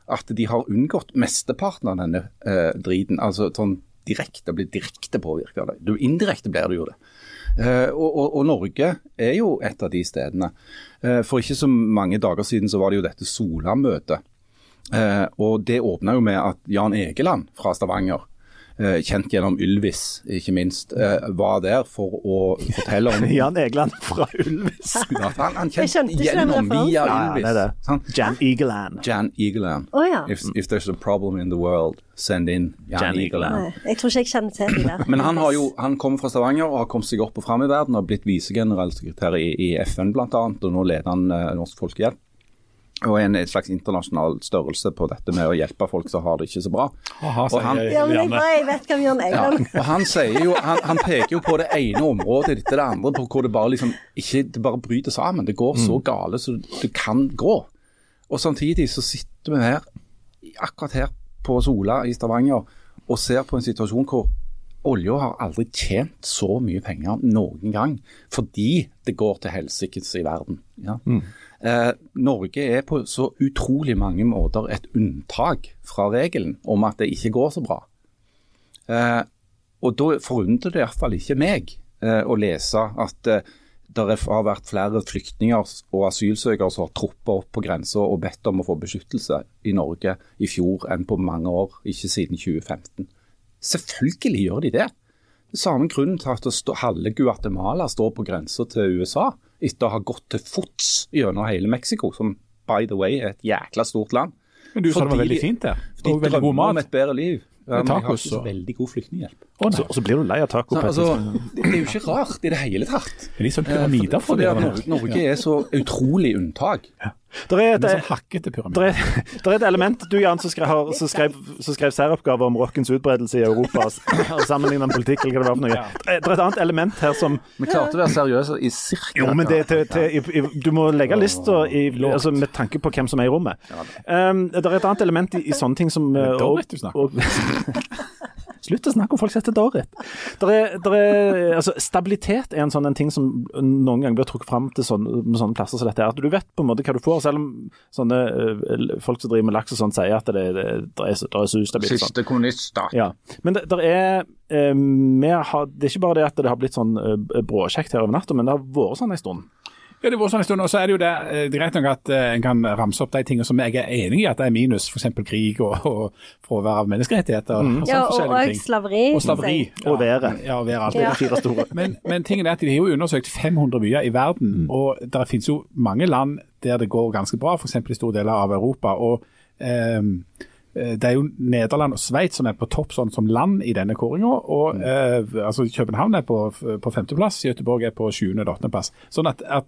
Speaker 2: at de har unngått mesteparten av denne eh, driten. Altså sånn direkte, blir direkte påvirka av det. Du indirekte blir du jo det. Eh, og, og, og Norge er jo et av de stedene. Eh, for ikke så mange dager siden så var det jo dette Sola-møtet. Eh, og det åpna jo med at Jan Egeland fra Stavanger, eh, kjent gjennom Ylvis ikke minst, eh, var der for å fortelle
Speaker 1: *laughs*
Speaker 2: om
Speaker 1: Jan Egeland fra Ulvis.
Speaker 2: Ja, han, han
Speaker 3: Jeg skjønte
Speaker 2: kjent
Speaker 3: ikke den
Speaker 2: gjennom
Speaker 3: referansen.
Speaker 2: via
Speaker 1: Nei,
Speaker 2: Ylvis.
Speaker 1: det er det.
Speaker 2: sant?
Speaker 1: Jan Egeland.
Speaker 2: Jan Egeland.
Speaker 3: Å ja.
Speaker 2: If, if there's a problem in the world, send in Jan,
Speaker 1: Jan Egeland.
Speaker 2: Egeland.
Speaker 3: Nei, jeg tror ikke jeg kjenner til de der.
Speaker 2: Men han, har jo, han kommer fra Stavanger og har kommet seg opp og fram i verden. Har blitt visegeneralsekretær i, i FN bl.a., og nå leder han eh, Norsk Folkehjelp. Og er en en slags internasjonal størrelse på dette med å hjelpe folk som har det ikke så bra.
Speaker 5: Aha,
Speaker 2: Og han-
Speaker 5: sier
Speaker 3: Ja, men jeg
Speaker 5: Janne.
Speaker 3: bare jeg vet hvem Jørn
Speaker 2: Ja,
Speaker 3: Egeland
Speaker 2: og han, sier jo, han, han peker jo på det ene området etter det andre, på hvor det bare liksom ikke, det bare bryter sammen. Det går så gale som det kan gå. Og samtidig så sitter vi her, akkurat her på Sola i Stavanger, og ser på en situasjon hvor olja har aldri tjent så mye penger noen gang, fordi det går til helsikes i verden. Ja. Eh, Norge er på så utrolig mange måter et unntak fra regelen om at det ikke går så bra. Eh, og da forundrer det iallfall ikke meg eh, å lese at eh, det har vært flere flyktninger og asylsøkere som har troppa opp på grensa og bedt om å få beskyttelse i Norge i fjor enn på mange år, ikke siden 2015. Selvfølgelig gjør de det. Det er samme grunnen til at det står- halve Guatemala står på grensa til USA etter å ha gått til fots gjennom hele Mexico, som by the way er et jækla stort land.
Speaker 5: Men du sa det var
Speaker 2: Fordi
Speaker 5: veldig
Speaker 2: de-
Speaker 5: fint der.
Speaker 2: De
Speaker 5: Og veldig god
Speaker 2: drømmer om
Speaker 5: mat.
Speaker 2: et bedre liv. Ja, men
Speaker 5: Med
Speaker 2: de har
Speaker 5: tacos
Speaker 2: ikke så
Speaker 5: og-
Speaker 2: veldig god flyktninghjelp.
Speaker 5: Å,
Speaker 1: Så,
Speaker 5: nei.
Speaker 1: og så blir du lei av taco.
Speaker 2: Nei,
Speaker 1: på et
Speaker 2: altså,
Speaker 1: tidspunkt.
Speaker 2: det det er jo ikke rart i det hele tatt.
Speaker 5: Det er litt sånn
Speaker 2: Eh,
Speaker 5: pyramider for
Speaker 2: fordi
Speaker 5: det,
Speaker 2: at
Speaker 5: det
Speaker 2: Norge,
Speaker 5: der.
Speaker 2: Norge er så utrolig unntak.
Speaker 1: Der er
Speaker 5: Det er
Speaker 1: et, *laughs*
Speaker 5: sånn hakkete pyramide.
Speaker 1: der er, der er et element du, Jan, som, skre, har, som skrev, som skrev særoppgave om rockens utbredelse i Europa *laughs* og sammenlignet med politikk eller hva det var for noe. Det er der er et annet element her som
Speaker 2: Vi klarte å være seriøse i cirka
Speaker 1: Jo, men det er til, til, i, i, du må legge lista i- altså, med tanke på hvem som er i rommet. Um, det er et annet element i, i sånne ting som uh,
Speaker 5: Dorrit
Speaker 1: og-
Speaker 5: du
Speaker 1: *laughs*
Speaker 5: snakker
Speaker 1: og- Slutt å snakke om folk som heter Dorrit. Der er, der er, altså, stabilitet er en sånn en ting som noen ganger blir trukket fram til sånne, med sånne plasser som dette. her, At du vet på en måte hva du får, selv om sånne uh, folk som driver med laks og sånn sier at det, det, det, er, så- det er så ustabilt. Sånn.
Speaker 2: kommuniststat.
Speaker 1: Ja, men det, der er, eh, vi har, det er ikke bare det at det har blitt sånn eh, bråkjekt her over natta, men det har vært sånn en stund.
Speaker 5: Ja, det var sånn en stund, og så er det jo det, eh, det er greit nok at eh, en kan ramse opp de tingene som jeg er enig i at det er minus, f.eks. krig og, og fravær av menneskerettigheter. Og,
Speaker 3: Ja,
Speaker 5: sånne
Speaker 3: og,
Speaker 5: forskjellige
Speaker 3: og
Speaker 5: ting.
Speaker 3: slaveri.
Speaker 5: Og slaveri.
Speaker 3: sier jeg.
Speaker 1: Og været.
Speaker 5: Ja, og været. alt
Speaker 1: Det
Speaker 5: det
Speaker 1: er
Speaker 5: der.
Speaker 1: de fire store.
Speaker 5: *laughs* Men, men tingen er at de har jo undersøkt 500 byer i verden,
Speaker 1: Mm.
Speaker 5: og det finnes jo mange land der det går ganske bra, f.eks. i store deler av Europa. og ehm, eh, det er jo Nederland og Sveits som er på topp sånn som land i denne kåringa. Og
Speaker 1: Mm.
Speaker 5: eh, altså København er på, på femteplass, Göteborg er på sjuende- eller åttendeplass. Sånn at, at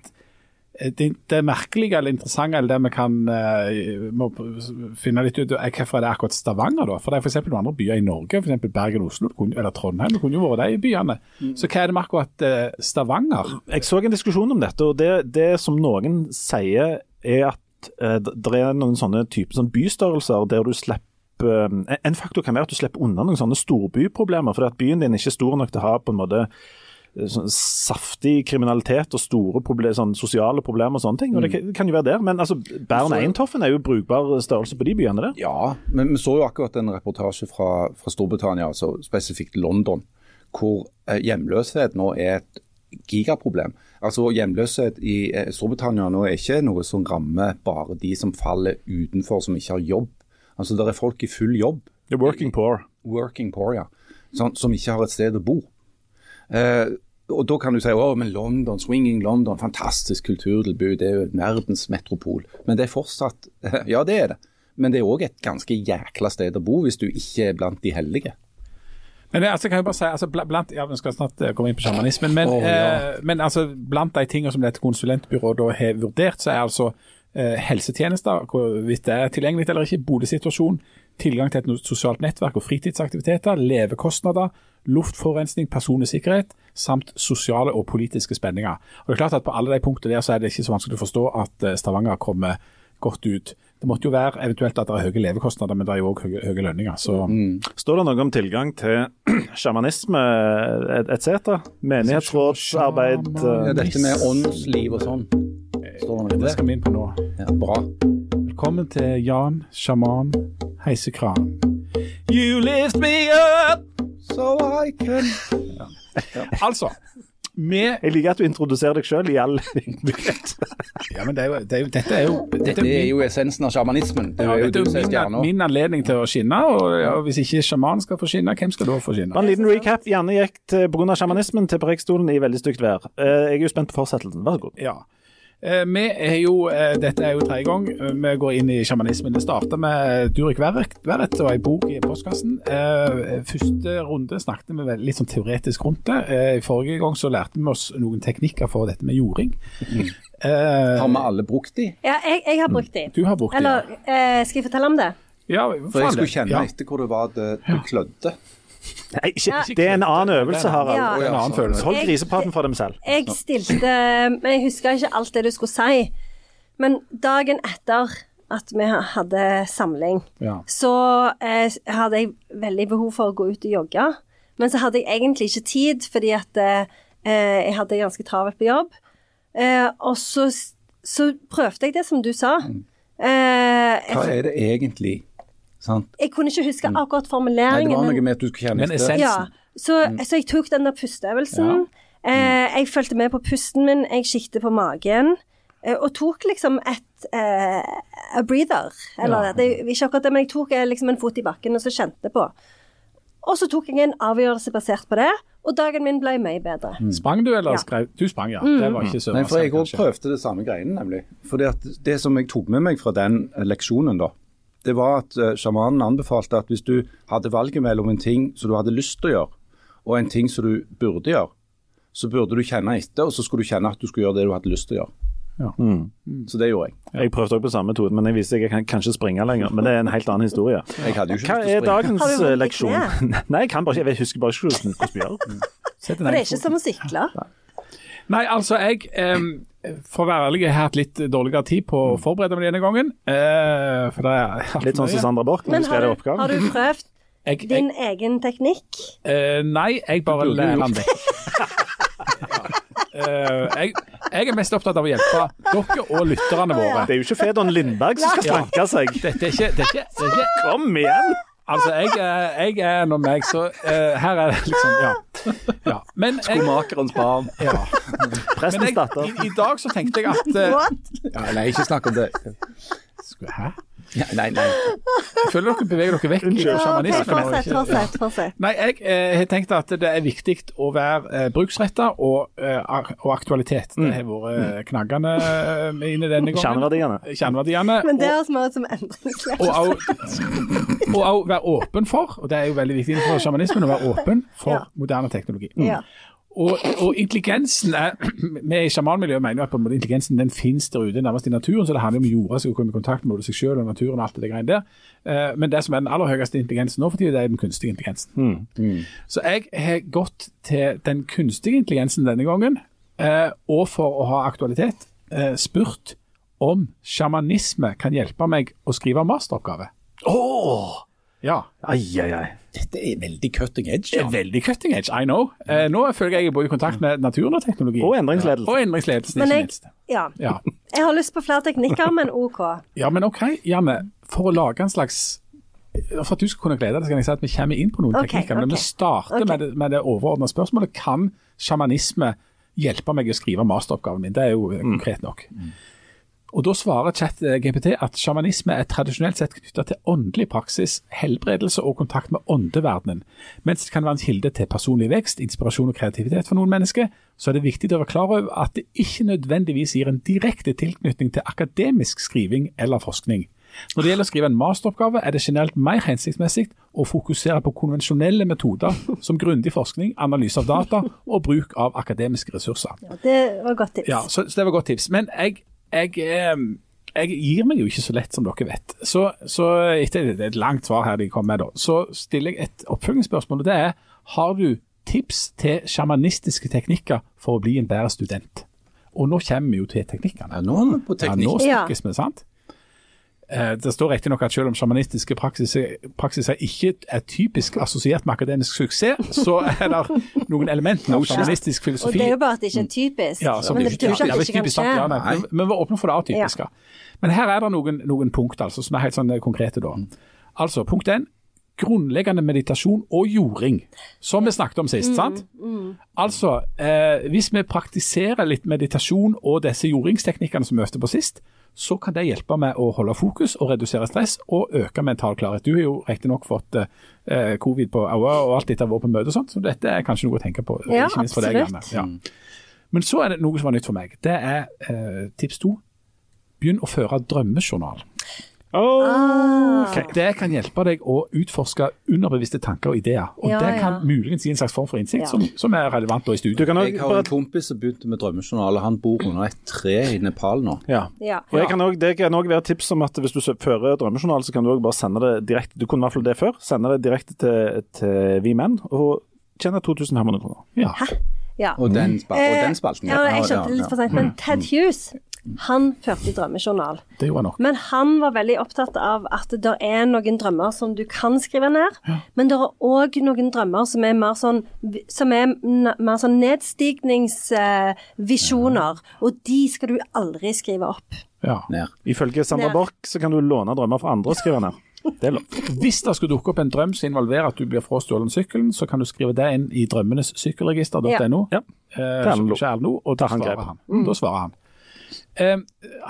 Speaker 5: Eh, det, det merkelige eller interessante eller det vi kan eh, må p- finne litt ut av, er hvorfor er det akkurat Stavanger, da? For det er f.eks. noen andre byer i Norge, f.eks. Bergen og Oslo det kunne, eller Trondheim, det kunne jo vært de byene. Så hva er det med akkurat eh, Stavanger?
Speaker 1: Jeg så en diskusjon om dette, og det, det som noen sier er at eh, d- det er noen sånne typer sånn bystørrelser der du slipper eh, En faktor kan være at du slipper unna noen sånne storbyproblemer, fordi at byen din er ikke stor nok til å ha på en måte eh, sånn saftig kriminalitet og store proble sånn sosiale problemer og sånne ting. og Det kan- kan jo være der, men altså, Bern Eintoffen er jo brukbar størrelse på de byene, det.
Speaker 2: Ja, men vi så jo akkurat en reportasje fra, fra Storbritannia, altså spesifikt London, hvor eh, hjemløshet nå er et gigaproblem. Altså Hjemløshet i eh, Storbritannia nå er ikke noe som rammer bare de som faller utenfor, som ikke har jobb. Altså Det er folk i full jobb,
Speaker 1: The working poor.
Speaker 2: working poor, ja, som, som ikke har et sted å bo. Eh, og da kan du si å, men London, swinging London, fantastisk kulturtilbud, det er jo verdens metropol. Men det er fortsatt *laughs* Ja, det er det. Men det er òg et ganske jækla sted å bo hvis du ikke er blant de heldige.
Speaker 5: Men det, altså, kan jeg bare si, altså, bl- blant, ja, Vi skal snart eh, komme inn på sjamanismen, men,
Speaker 2: Åh, ja.
Speaker 5: eh, men altså, blant de tingene som dette konsulentbyrået da har vurdert, så er altså eh, helsetjenester, hvorvidt det er tilgjengelig eller ikke, boligsituasjon, tilgang til et no- sosialt nettverk og fritidsaktiviteter, levekostnader, luftforurensning, personlig sikkerhet, samt sosiale og politiske spenninger. Og det er klart at På alle de punktene der så er det ikke så vanskelig å forstå at eh, Stavanger kommer godt ut. Det måtte jo være eventuelt at det er høye levekostnader, men det er jo òg høye, høye lønninger. så...
Speaker 2: Mm.
Speaker 1: Står det noe om tilgang til *clears throat* sjamanisme etc.? Menighetsrådsarbeid
Speaker 2: Ja,
Speaker 1: eh,
Speaker 2: dette med åndsliv og sånn. Står det noe om
Speaker 5: Det
Speaker 2: det?
Speaker 5: skal vi inn på nå.
Speaker 2: Ja, bra.
Speaker 5: Velkommen til Jan Sjaman Heisekran. You lift me up,
Speaker 6: So I can
Speaker 5: Altså, vi
Speaker 1: Jeg liker at du introduserer deg sjøl i all *laughs* mulighet.
Speaker 5: Ja, men det er jo, det er jo, dette er jo, dette
Speaker 6: Dette er jo essensen av sjamanismen. Det
Speaker 5: Ja,
Speaker 6: er jo
Speaker 5: dette er
Speaker 6: du som er
Speaker 5: jo min,
Speaker 6: stjerna.
Speaker 5: min anledning til å skinne, og ja, hvis ikke sjamanen skal få skinne, hvem skal da få skinne?
Speaker 1: En liten recap. Janne gikk pga. sjamanismen til Preikestolen i veldig stygt vær. Eh, Jeg er jo spent på fortsettelsen. Vær så god.
Speaker 5: Ja. Eh, Vi er jo, eh, dette er jo tredje gang eh, vi går inn i sjamanismen. Det starter med eh, Durek Verrett Verrett og ei bok i postkassen. Eh, Første runde snakket vi vel litt sånn teoretisk rundt det. Eh, I forrige gang så lærte vi oss noen teknikker for dette med jording.
Speaker 6: Mm.
Speaker 5: Eh,
Speaker 6: Har vi alle brukt de?
Speaker 3: Ja, jeg, jeg har brukt de.
Speaker 5: Du har brukt de, ja.
Speaker 3: Eller eh, skal jeg fortelle om det?
Speaker 5: Ja,
Speaker 6: For jeg
Speaker 5: faen det.
Speaker 6: skulle kjenne
Speaker 5: Ja.
Speaker 6: etter hvor det var det du klødde.
Speaker 1: Nei, ikke, det er en annen øvelse, Harald.
Speaker 3: Ja.
Speaker 5: Det er en annen følelse.
Speaker 1: Hold grisepraten for dem selv.
Speaker 3: Jeg stilte Men jeg husker ikke alt det du skulle si. Men dagen etter at vi hadde samling,
Speaker 5: Ja.
Speaker 3: så eh, hadde jeg veldig behov for å gå ut og jogge. Men så hadde jeg egentlig ikke tid, fordi at eh, jeg hadde ganske travelt på jobb. Eh, og så, så prøvde jeg det som du sa.
Speaker 5: Mm.
Speaker 3: Eh,
Speaker 6: Hva
Speaker 3: jeg,
Speaker 6: er det egentlig? Sant?
Speaker 3: jeg kunne ikke huske akkurat
Speaker 6: Nei, det
Speaker 3: formuleringen.
Speaker 6: var
Speaker 3: men-
Speaker 6: noe med at du skulle kjenne
Speaker 5: Men
Speaker 6: etter.
Speaker 5: essensen
Speaker 3: Ja, så, så jeg tok den der pusteøvelsen. Eh, jeg fulgte med på pusten min, jeg siktet på magen. eh, Og tok liksom et eh, a breather. Eller det, er ikke akkurat det, men jeg tok eh, liksom en fot i bakken og så kjente på. Og så tok jeg en avgjørelse basert på det, og dagen min ble mye bedre.
Speaker 5: Sprang du, eller
Speaker 3: Ja. Mm.
Speaker 5: skrev Du sprang, ja. Det var ikke så
Speaker 6: Nei, for jeg òg
Speaker 5: kanskje.
Speaker 6: prøvde det samme greiene, nemlig. For det, at det som jeg tok med meg fra den eh, leksjonen, da, det var at eh, sjamanen anbefalte at hvis du hadde valget mellom en ting som du hadde lyst til å gjøre, og en ting som du burde gjøre, så burde du kjenne etter, og så skulle du kjenne at du skulle gjøre det du hadde lyst til å gjøre. Mm.
Speaker 5: Ja.
Speaker 3: Mm.
Speaker 6: Så det gjorde jeg.
Speaker 1: Jeg prøvde også på samme metode, men jeg viste jeg kan kanskje springe lenger. Men det er en helt annen historie.
Speaker 6: Jeg hadde jo
Speaker 1: Hva
Speaker 6: ikke lyst til å
Speaker 1: er
Speaker 6: springe.
Speaker 1: dagens eh,
Speaker 3: Har du vondt i
Speaker 1: leksjon? *laughs* Nei, jeg kan bare ikke Jeg husker bare ikke hvordan hvordan vi gjør det.
Speaker 3: For
Speaker 5: Sett
Speaker 3: det
Speaker 5: den ene
Speaker 3: er ikke
Speaker 5: foten.
Speaker 3: som å sykle.
Speaker 5: Nei, altså, jeg em, For å være ærlig, jeg har hatt litt dårligere tid på å forberede meg denne gangen. eh, for det er
Speaker 1: Litt sånn som Sandra Borch når
Speaker 3: Men
Speaker 1: hun
Speaker 3: har
Speaker 1: skrev
Speaker 3: du,
Speaker 1: oppgaven.
Speaker 3: har du prøvd
Speaker 5: jeg, jeg,
Speaker 3: din egen teknikk?
Speaker 5: eh, Nei, jeg bare lærer den
Speaker 1: *laughs*
Speaker 5: vekk. Eh, jeg, jeg er mest opptatt av å hjelpe dere og lytterne våre.
Speaker 1: Det er jo ikke Fedon Lindberg som skal slanke seg.
Speaker 5: Dette er ikke, det er ikke, det er ikke
Speaker 1: Kom igjen!
Speaker 5: Altså, jeg, er- jeg er nå meg, så eh, her er det liksom Ja. ja. Men jeg,
Speaker 6: Skomakerens barn.
Speaker 5: ja. Men
Speaker 1: Prestens
Speaker 5: jeg, i,
Speaker 1: datter.
Speaker 5: i dag så tenkte jeg at eh,
Speaker 3: What?
Speaker 6: Ja, nei, ikke snakk om det.
Speaker 5: Hæ?
Speaker 6: Ja, nei, nei.
Speaker 5: Jeg føler dere beveger dere vekk fra
Speaker 3: Ja, ok,
Speaker 5: sjamanismen. og
Speaker 3: fortsett,
Speaker 5: ikke-
Speaker 3: fortsett, fortsett.
Speaker 5: Nei, jeg eh, har tenkt at det er viktig å være eh, bruksretta og, eh, ak- og aktualitet. Det har vært eh, knaggende eh, inne denne gangen.
Speaker 1: Kjerneverdiene.
Speaker 5: Kjerneverdiene.
Speaker 3: Men det
Speaker 5: og-
Speaker 3: høres mer ut som endringslek.
Speaker 5: og au- og au være åpen for, og det er jo veldig viktig innenfor sjamanismen, å være åpen for
Speaker 3: Ja.
Speaker 5: moderne teknologi.
Speaker 3: Ja.
Speaker 5: Og, og intelligensen er, *clears throat* Vi i sjamanmiljøet mener jo at på en måte intelligensen den finnes der ute, nærmest i naturen. Så det handler om jorda som skal komme i kontakt med både seg selv og naturen og alt det der greiene der. Eh, Men det som er den aller høyeste intelligensen nå for tiden, det er den kunstige intelligensen. Så jeg har gått til den kunstige intelligensen denne gangen, eh, og for å ha aktualitet, eh, spurt om sjamanisme kan hjelpe meg å skrive masteroppgave.
Speaker 1: Åh!
Speaker 5: Ja.
Speaker 1: Ai, ai, ai.
Speaker 6: Dette er veldig cutting edge.
Speaker 5: Det er veldig cutting edge, I know. Eh, nå føler jeg jeg er både i kontakt med naturen og teknologi.
Speaker 1: Og endringsledelse.
Speaker 5: Og endringsledelsen,
Speaker 3: Men
Speaker 5: ikke
Speaker 3: jeg,
Speaker 5: minst.
Speaker 3: ja.
Speaker 5: Ja.
Speaker 3: jeg har lyst på flere teknikker, men OK.
Speaker 5: ja, men OK, Janne. For å lage en slags For at du skal kunne glede deg, så kan jeg si at vi kommer inn på noen
Speaker 3: Ok,
Speaker 5: teknikker. Men
Speaker 3: ok.
Speaker 5: vi starter
Speaker 3: Ok.
Speaker 5: med det, med det overordna spørsmålet. Kan sjamanisme hjelpe meg å skrive masteroppgaven min? Det er jo eh, konkret nok. Og Da svarer eh, ChatGPT at sjamanisme er tradisjonelt sett knytta til åndelig praksis, helbredelse og kontakt med åndeverdenen. Mens det kan være en kilde til personlig vekst, inspirasjon og kreativitet for noen mennesker, så er det viktig å være klar over at det ikke nødvendigvis gir en direkte tilknytning til akademisk skriving eller forskning. Når det gjelder å skrive en masteroppgave, er det generelt mer hensiktsmessig å fokusere på konvensjonelle metoder som grundig forskning, analyse av data og bruk av akademiske ressurser.
Speaker 3: Det var et godt tips.
Speaker 5: Ja, så, så det var godt tips. Men jeg, jeg, eh, jeg gir meg jo ikke så lett, som dere vet. Så, så etter det er et langt svar her de kom med, da, så stiller jeg et oppfølgingsspørsmål. og Det er har du tips til sjamanistiske teknikker for å bli en bedre student? Og nå kommer vi jo til teknikkene.
Speaker 6: Ja, nå er vi på
Speaker 5: Ja, nå
Speaker 6: teknikk.
Speaker 3: Ja.
Speaker 5: snakkes vi, sant? Eh, Det står riktignok at selv om sjamanistiske praksiser, praksiser ikke er typisk assosiert med akademisk suksess, så er det noen elementer av sjamanistisk
Speaker 3: Og
Speaker 5: filosofi
Speaker 3: det er jo bare at det ikke er typisk.
Speaker 5: ja, som
Speaker 3: men
Speaker 5: det
Speaker 3: det betyr ikke
Speaker 5: ja,
Speaker 3: at det ikke kan
Speaker 5: typisk sant, ja,
Speaker 3: skje.
Speaker 5: nei, men- Men vi åpner for det atypiske. Men her er det noen, noen punkt altså, som er helt sånn eh, konkrete. da. Altså, Punkt én. grunnleggende meditasjon og jording, som vi snakket om
Speaker 3: Mm,
Speaker 5: sist. sant? Altså, eh, hvis vi praktiserer litt meditasjon og disse jordingsteknikkene som vi øvde på sist, så kan det hjelpe med å holde fokus og redusere stress og øke mental klarhet. Du har jo riktignok fått eh, covid på øyet og alt dette har vært på møte og sånt, så dette er kanskje noe å tenke på.
Speaker 3: Ja,
Speaker 5: ikke minst for deg, Janne.
Speaker 3: absolutt.
Speaker 5: Ja. Men så er det noe som var nytt for meg. Det er eh, tips to. Begynn å føre drømmejournal.
Speaker 3: Ah.
Speaker 5: Det kan hjelpe deg å utforske underbevisste tanker og ideer. Og
Speaker 3: Ja,
Speaker 5: det kan
Speaker 3: ja.
Speaker 5: muligens gi en slags form for innsikt
Speaker 3: Ja.
Speaker 5: som, som er relevant da i
Speaker 1: Du
Speaker 5: studio.
Speaker 1: kan
Speaker 6: Jeg
Speaker 1: også,
Speaker 6: har en kompis som begynte med drømmejournal, og han bor under et tre i Nepal nå.
Speaker 1: ja.
Speaker 3: Ja.
Speaker 1: Og jeg kan også, det kan òg være tips om at hvis du sø- fører drømmejournal, så kan du også bare sende det direkte Du kunne i hvert fall det før. Sende det direkte til, til Vi Menn og tjene 2500 kroner.
Speaker 5: Ja.
Speaker 3: ja.
Speaker 6: Og den, spal og
Speaker 3: Eh,
Speaker 6: den spalten.
Speaker 3: Ja, jeg skjønte det litt for seint, men Ted Hughes han førte drømmejournal.
Speaker 5: Det gjorde jeg nok.
Speaker 3: Men han var veldig opptatt av at det er noen drømmer som du kan skrive ned, men det er òg noen drømmer som er mer sånn, som er n- mer sånn nedstigningsvisjoner, og de skal du aldri skrive opp.
Speaker 5: Ja.
Speaker 6: Ned.
Speaker 1: Ifølge Sandra
Speaker 3: Ned.
Speaker 1: Borch så kan du låne drømmer fra andre og skrive ned. Det er lov.
Speaker 5: Hvis det skulle dukke opp en drøm som involverer at du blir frastjålet sykkelen, så kan du skrive det inn i drømmenes sykkelregister.no.
Speaker 1: *laughs* Ja.
Speaker 5: Eh,
Speaker 1: Erlend Lo.
Speaker 5: som ikke er nå, og da
Speaker 1: han
Speaker 5: svarer
Speaker 1: grep.
Speaker 5: han. Mm. Da svarer han. Eh,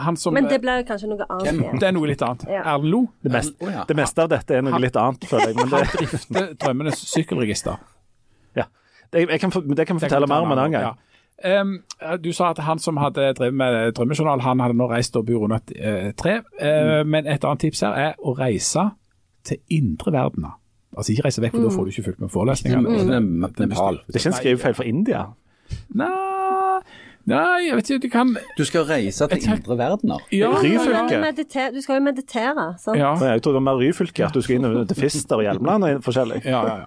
Speaker 5: han som,
Speaker 3: Men det blir jo kanskje noe annet igjen.
Speaker 5: det er noe litt annet.
Speaker 3: Ja.
Speaker 5: Erlend Lo
Speaker 1: Det, mest,
Speaker 6: Å, ja.
Speaker 1: det meste av dette er noe litt annet, føler jeg. Men det,
Speaker 5: han drifter drømmenes sykkelregister.
Speaker 1: ja. det, jeg kan, få- det kan vi fortelle mer om en annen gang.
Speaker 5: Ja. Em, eh, du sa at han som hadde drevet med drømmejournal, han hadde nå reist og bor under et eh, tre.
Speaker 1: Mm.
Speaker 5: Eh, Men et annet tips her er å reise til indre verdener. Altså ikke reise vekk, for da får du ikke fulgt med
Speaker 2: Mm.
Speaker 5: forelesningene.
Speaker 6: Ikke Ne- Mm.
Speaker 3: Mm.
Speaker 6: Nepal.
Speaker 1: Det er ikke en skrivefeil fra India.
Speaker 5: Nei, nei, jeg vet ikke, du kan
Speaker 6: Du skal reise til indre verdener.
Speaker 5: ja,
Speaker 3: Men
Speaker 1: Ryfylke.
Speaker 3: medite- Du skal jo meditere, sant?
Speaker 5: ja,
Speaker 1: Nei, Jeg tror det var mer Ryfylke, at du skal inn til Fister og Hjelmeland og forskjellig.
Speaker 5: ja, ja, ja.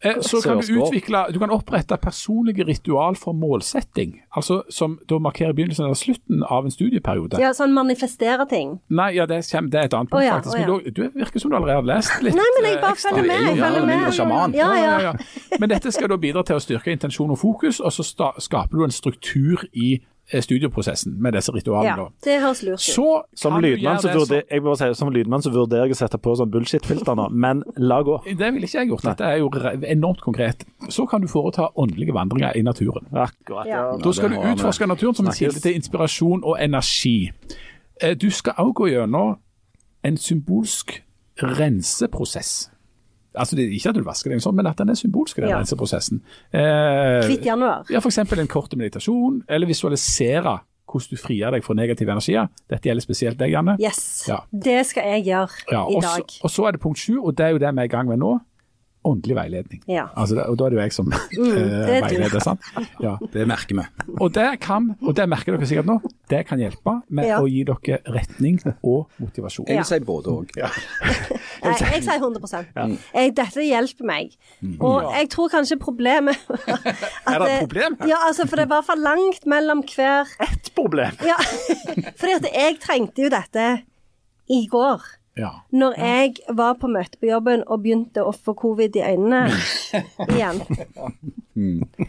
Speaker 5: Eh, Så kan du
Speaker 6: Sørskål.
Speaker 5: utvikle Du kan opprette personlige ritual for målsetting. Altså som da markerer begynnelsen eller slutten av en studieperiode.
Speaker 3: Ja, sånn manifestere ting.
Speaker 5: Nei, ja, det, kommer, det er et annet punkt,
Speaker 3: Å ja, å
Speaker 5: faktisk.
Speaker 3: ja.
Speaker 5: Men da- du virker som du allerede har lest litt.
Speaker 3: Nei, men jeg
Speaker 5: eh,
Speaker 3: bare følger med. Jeg
Speaker 6: Ja,
Speaker 3: følger
Speaker 6: eller mindre sjaman.
Speaker 3: med. Ja, ja.
Speaker 5: ja, ja. Men dette skal da bidra til å styrke intensjon og fokus, og så sta skaper du en struktur i eh, studieprosessen med disse ritualene.
Speaker 3: ja.
Speaker 5: da.
Speaker 3: Det høres lurt ut.
Speaker 5: Så
Speaker 1: Som
Speaker 5: kan du
Speaker 1: lydmann,
Speaker 5: gjøre
Speaker 1: så
Speaker 5: det
Speaker 1: vurder, jeg må bare si, som lydmann så vurderer jeg å sette på sånn bullshit-filter nå, men la gå.
Speaker 5: som- Det ville ikke jeg gjort, dette er jo re- enormt konkret. Så kan du foreta åndelige vandringer i naturen.
Speaker 1: Akkurat.
Speaker 3: Ja.
Speaker 5: Da skal
Speaker 6: det
Speaker 5: du
Speaker 6: har vi.
Speaker 5: utforske naturen som en kilde til inspirasjon og energi. Eh, Du skal også gå gjennom en symbolsk renseprosess. Altså, det er ikke at du vasker deg, og sånn, men at den er symbolsk, den
Speaker 3: Ja.
Speaker 5: renseprosessen. Eh,
Speaker 3: Hvitt januar.
Speaker 5: Ja, f.eks. en kort meditasjon, eller visualisere hvordan du frier deg fra negative energier. Dette gjelder spesielt deg, Janne.
Speaker 3: Yes.
Speaker 5: Ja.
Speaker 3: Det skal jeg gjøre
Speaker 5: Ja,
Speaker 3: i
Speaker 5: og, så,
Speaker 3: dag.
Speaker 5: og så er det punkt sju, og det er jo det vi er i gang med nå. Åndelig veiledning.
Speaker 3: Ja. Mm,
Speaker 5: Altså det, og da er det jo jeg som *laughs* eh,
Speaker 3: det er du. *laughs*
Speaker 5: veileder, sant. Ja.
Speaker 6: Det merker vi.
Speaker 5: Og det kan, og det merker dere sikkert nå, det kan hjelpe med
Speaker 3: Ja.
Speaker 5: å gi dere retning og motivasjon.
Speaker 6: Jeg
Speaker 3: Ja.
Speaker 6: vil si både òg.
Speaker 3: Nei, jeg sier 100 jeg, Dette hjelper meg. Og jeg tror kanskje
Speaker 5: *laughs*
Speaker 3: problemet Er
Speaker 5: Mm. det et problem her?
Speaker 3: Ja, altså, for det var for langt mellom hver
Speaker 1: Et problem.
Speaker 3: ja, *laughs* Fordi at jeg trengte jo dette i går.
Speaker 5: Ja.
Speaker 3: Når jeg var på møte på jobben og begynte å få covid i øynene igjen.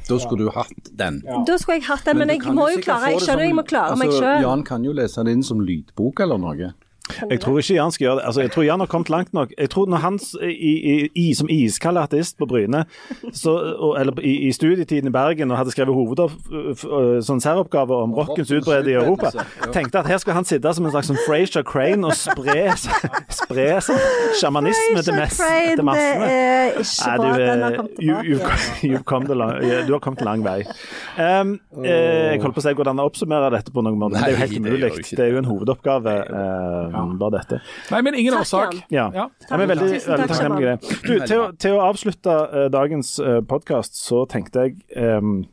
Speaker 6: Da skulle du hatt den.
Speaker 3: Da skulle jeg hatt det, men,
Speaker 6: du
Speaker 3: jeg
Speaker 6: kan
Speaker 3: må jo
Speaker 6: sikkert
Speaker 3: klare
Speaker 6: få
Speaker 3: Jeg
Speaker 6: det
Speaker 3: skjønner
Speaker 6: som-
Speaker 3: jeg må klare meg
Speaker 6: altså,
Speaker 3: sjøl.
Speaker 6: Jan kan jo lese det inn som lydbok eller noe.
Speaker 1: Jeg tror ikke Jan skal gjøre det. Altså, jeg tror Jan har kommet langt nok. Jeg tror når han s- i, i, i, som iskald ateist på Bryne, så, og, eller i, i studietiden i Bergen, og hadde skrevet hovedopp, f- f- sånn særoppgave om rockens utbredelse i Europa, tenkte at her skulle han sitte som en slags sånn Frazier Crane og spre, spre sånn sjamanisme til, mess, til massene.
Speaker 3: Det er ikke
Speaker 1: Nei,
Speaker 3: bra at den har
Speaker 1: eh,
Speaker 3: kommet
Speaker 1: you- you've
Speaker 3: tilbake.
Speaker 1: come- *laughs* you've come the long- yeah, du har kommet lang vei. Um, eh, jeg holdt på å si hvordan jeg oppsummerer dette på noen måte. men Det er jo helt
Speaker 6: Nei, det gjør
Speaker 1: umulig.
Speaker 6: jo ikke
Speaker 1: Det, er jo en hovedoppgave, eh, bare dette.
Speaker 5: Nei, men ingen
Speaker 3: Takk,
Speaker 5: årsak.
Speaker 3: Jan.
Speaker 1: Ja.
Speaker 5: Ja.
Speaker 1: Jeg er veldig,
Speaker 3: Tusen takk,
Speaker 1: veldig takknemlig for det. Du, til, å- til å avslutte eh, dagens uh, podkast, så tenkte jeg em,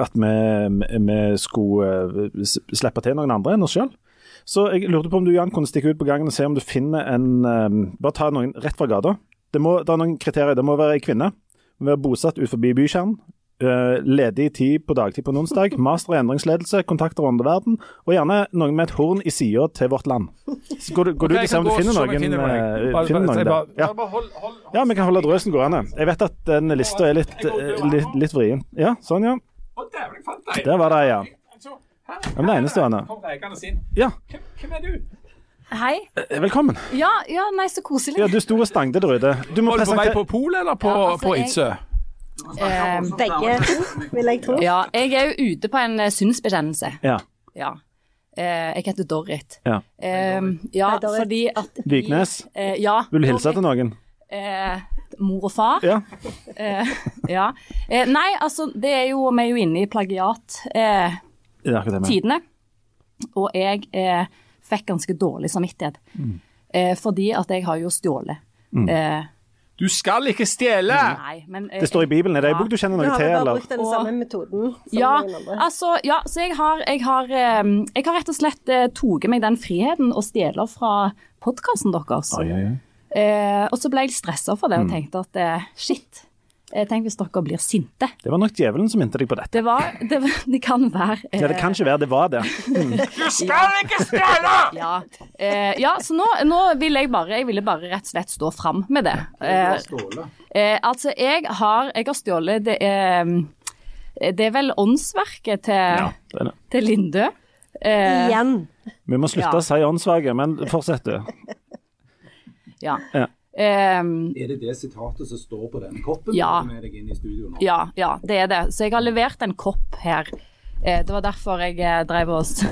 Speaker 1: at vi, vi skulle eh, s- slippe til noen andre enn oss sjøl. Så jeg lurte på om du Jan, kunne stikke ut på gangen og se om du finner en em, Bare ta noen rett fra gata. Det, må, det er noen kriterier. Det må være ei kvinne. Må være bosatt ut forbi bykjernen. eh, ledig tid på dagtid på en onsdag. Master i endringsledelse. Kontakter rundt verden. Og gjerne noen med et horn i sida til vårt land. Så går du, går
Speaker 5: Ok,
Speaker 1: du til å
Speaker 5: jeg
Speaker 1: se
Speaker 5: kan
Speaker 1: om du
Speaker 5: gå
Speaker 1: finner
Speaker 5: så vi
Speaker 1: noen,
Speaker 5: finner noen, jeg.
Speaker 1: eh,
Speaker 5: Bare-
Speaker 1: finner
Speaker 5: bare-
Speaker 1: noen
Speaker 5: bare-
Speaker 1: der? Ja. Ja, vi kan holde drøsen gående. Jeg vet at den lista er litt, eh, litt, litt vrien. Ja, sånn, ja.
Speaker 5: Å, dæven, jeg fant deg.
Speaker 1: Der var det, ja.
Speaker 5: Altså, her-
Speaker 1: men det er enestående.
Speaker 5: her kom Reikane sin.
Speaker 1: Ja,
Speaker 5: Hvem, hvem er du?
Speaker 7: Hei.
Speaker 1: Eh, Velkommen.
Speaker 7: Ja, ja, nei, så koselig.
Speaker 1: Ja, du store stangdedrøde. Du må
Speaker 5: Var du på vei
Speaker 1: presentere
Speaker 5: på polet eller på,
Speaker 7: Ja, altså,
Speaker 5: på
Speaker 7: jeg-
Speaker 5: Idsø?
Speaker 7: Eh,
Speaker 3: Begge to, vil jeg tro.
Speaker 7: ja, jeg er jo ute på en eh, synsbekjennelse.
Speaker 1: Ja.
Speaker 7: Ja. Eh, jeg heter Dorrit.
Speaker 1: Ja.
Speaker 7: Eh, ja,
Speaker 3: Hei, Dorrit.
Speaker 7: fordi at vi-
Speaker 1: Viknes,
Speaker 7: Eh, ja.
Speaker 1: vil du hilse til noen?
Speaker 7: Eh, mor og far.
Speaker 1: Ja.
Speaker 7: Eh, *laughs* ja. Eh, nei, altså, det er jo, vi er jo inne i plagiat. Eh,
Speaker 1: Det er akkurat det jeg mener.
Speaker 7: tidene. Og jeg eh, fikk ganske dårlig samvittighet.
Speaker 1: Mm.
Speaker 7: Eh, fordi at jeg har jo stjålet. Eh,
Speaker 5: Du skal ikke stjele!
Speaker 7: nei, men eh,
Speaker 1: Det står i Bibelen. Er det en
Speaker 7: Ja.
Speaker 1: bok du kjenner
Speaker 3: Du
Speaker 1: noe
Speaker 3: har
Speaker 1: til,
Speaker 3: vel bare
Speaker 1: eller?
Speaker 3: brukt den
Speaker 7: Og-
Speaker 3: samme metoden som
Speaker 7: ja,
Speaker 3: noen andre.
Speaker 7: altså, ja, så jeg har, jeg har, eh, jeg har rett og slett eh, tatt meg den friheten og stjeler fra podkasten deres. Eh, og så ble jeg stressa for det
Speaker 1: Mm.
Speaker 7: og tenkte at eh, shit, eh, tenk hvis dere blir sinte.
Speaker 1: Det var nok djevelen som minte deg på dette.
Speaker 7: Det, var, *laughs* det, det kan være eh,
Speaker 1: Ja, det kan ikke være det var det.
Speaker 7: Ja, eh, ja så nå, nå vil jeg bare Jeg ville bare rett og slett stå fram med det. Eh, eh, altså, jeg har, jeg har stjålet det, er- det er vel åndsverket
Speaker 1: Det
Speaker 7: til,
Speaker 1: er det.
Speaker 7: til Lindø. Eh, ja.
Speaker 3: Igjen.
Speaker 1: Vi må slutte
Speaker 7: Ja.
Speaker 1: å si åndssvake, men fortsett du. Ja.
Speaker 7: Eh,
Speaker 6: Er det det sitatet som står på denne koppen?
Speaker 7: Ja.
Speaker 6: Med deg inn i studio nå?
Speaker 7: ja, ja, det er det. Så jeg har levert en kopp her. Eh, det var derfor jeg eh, drev og s-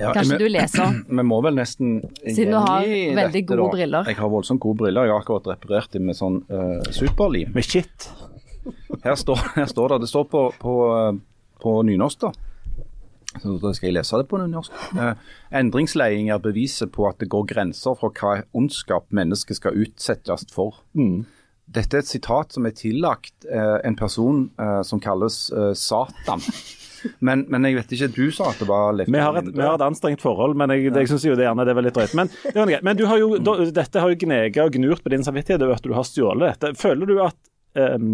Speaker 6: Ja,
Speaker 7: Kanskje
Speaker 6: men-
Speaker 7: du leser?
Speaker 6: Vi må vel nesten
Speaker 7: Siden du har
Speaker 6: gjengi
Speaker 7: veldig
Speaker 6: dette,
Speaker 7: gode
Speaker 6: da.
Speaker 7: briller.
Speaker 6: Jeg har voldsomt gode briller. Jeg har akkurat reparert dem med sånn eh, superlim.
Speaker 1: Med shit.
Speaker 6: Her står, *laughs* her står det Det står på, på, eh, på nynorsk, da. Så da skal jeg lese det på nynorsk. Eh, endringsleding er beviset på at det går grenser for hva ondskap mennesket skal utsettes for.
Speaker 1: Mm.
Speaker 6: Dette er et sitat som er tillagt eh, en person eh, som kalles eh,
Speaker 1: *laughs*
Speaker 6: Satan. Men, men jeg vet ikke, du sa at det var Leif
Speaker 1: Vi har, et, vi har et anstrengt forhold, men jeg, jeg syns jo det gjerne det var litt drøyt. Men, det var greit. men du har jo, da, dette har jo gnega og gnurt på din samvittighet over at du har stjålet dette. Føler du at, ehm,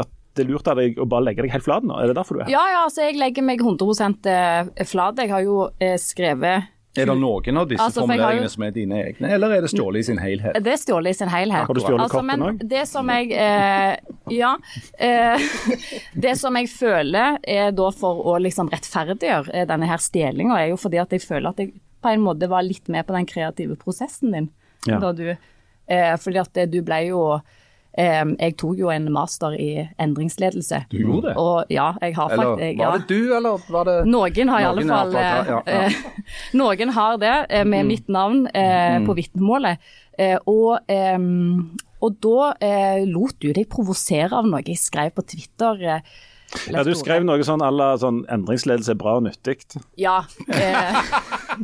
Speaker 1: at det er lurt av deg å bare legge deg helt flat nå? Er det derfor du er her?
Speaker 7: Ja ja, altså jeg legger meg 100 eh, flat. Jeg har jo eh, skrevet
Speaker 6: Er det noen av disse
Speaker 7: Altså, for jeg har jo-
Speaker 6: formuleringene som er dine egne, eller er det stjålet i sin helhet?
Speaker 7: Det er stjålet i sin helhet.
Speaker 1: Har du stjålet
Speaker 7: altså,
Speaker 1: katten
Speaker 7: men
Speaker 1: også?
Speaker 7: Det som jeg eh, Ja. Eh, *laughs* det som jeg føler er da for å liksom rettferdiggjøre eh, denne her stjelinga, er jo fordi at jeg føler at jeg på en måte var litt med på den kreative prosessen din.
Speaker 1: Ja.
Speaker 7: Da du, eh, fordi at eh, du ble jo eh, Jeg tok jo en master i endringsledelse.
Speaker 6: Du gjorde det?
Speaker 7: Og ja, jeg har
Speaker 6: Eller
Speaker 7: faktisk
Speaker 6: var det du, eller var det
Speaker 7: noen har i alle
Speaker 6: Noen har
Speaker 7: fall
Speaker 6: fått- ja, ja.
Speaker 7: eh, *laughs* Noen har det, eh,
Speaker 1: Mm.
Speaker 7: med mitt navn eh, på vitnemålet. Eh, og, eh, og da eh, lot du deg provosere av noe jeg skrev på Twitter. Eh,
Speaker 1: Ja, du skrev noe sånn à la sånn endringsledelse er bra og nyttig. Så
Speaker 7: Ja. Eh, *laughs*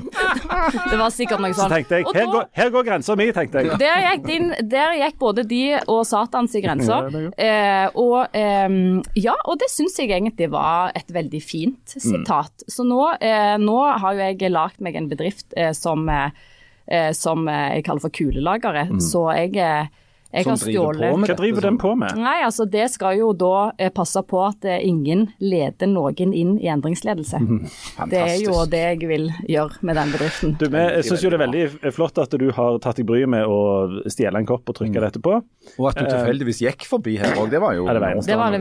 Speaker 7: det var sikkert noe sånt.
Speaker 1: tenkte jeg
Speaker 7: Og
Speaker 1: her
Speaker 7: da-
Speaker 1: går, her går grensa mi, tenkte jeg.
Speaker 7: Der gikk, din, der gikk både de og Satans i grenser. Eh, og ehm, ja, og det syns jeg egentlig var et veldig fint
Speaker 6: Mm.
Speaker 7: sitat. Så nå, eh, nå har jo jeg lagd meg en bedrift eh, som, eh, eh, som eh, jeg kaller for Kulelageret. Så jeg, eh, jeg
Speaker 6: Mm. Som
Speaker 7: har
Speaker 6: driver på med
Speaker 7: stjålet
Speaker 1: Hva driver den på med?
Speaker 7: Nei, altså det skal jo da eh, passe på at eh, ingen leder noen inn i endringsledelse.
Speaker 6: Mm.
Speaker 7: Det er jo det jeg vil gjøre med den bedriften.
Speaker 1: Du, men jeg syns jo det er veldig flott at du har tatt deg bryet med å stjele en kopp og trykke dette på.
Speaker 6: Og at du
Speaker 2: Eh,
Speaker 6: tilfeldigvis gikk forbi her òg, det var jo altså,
Speaker 1: Ja,
Speaker 6: eh,
Speaker 1: det var det.
Speaker 7: Det var det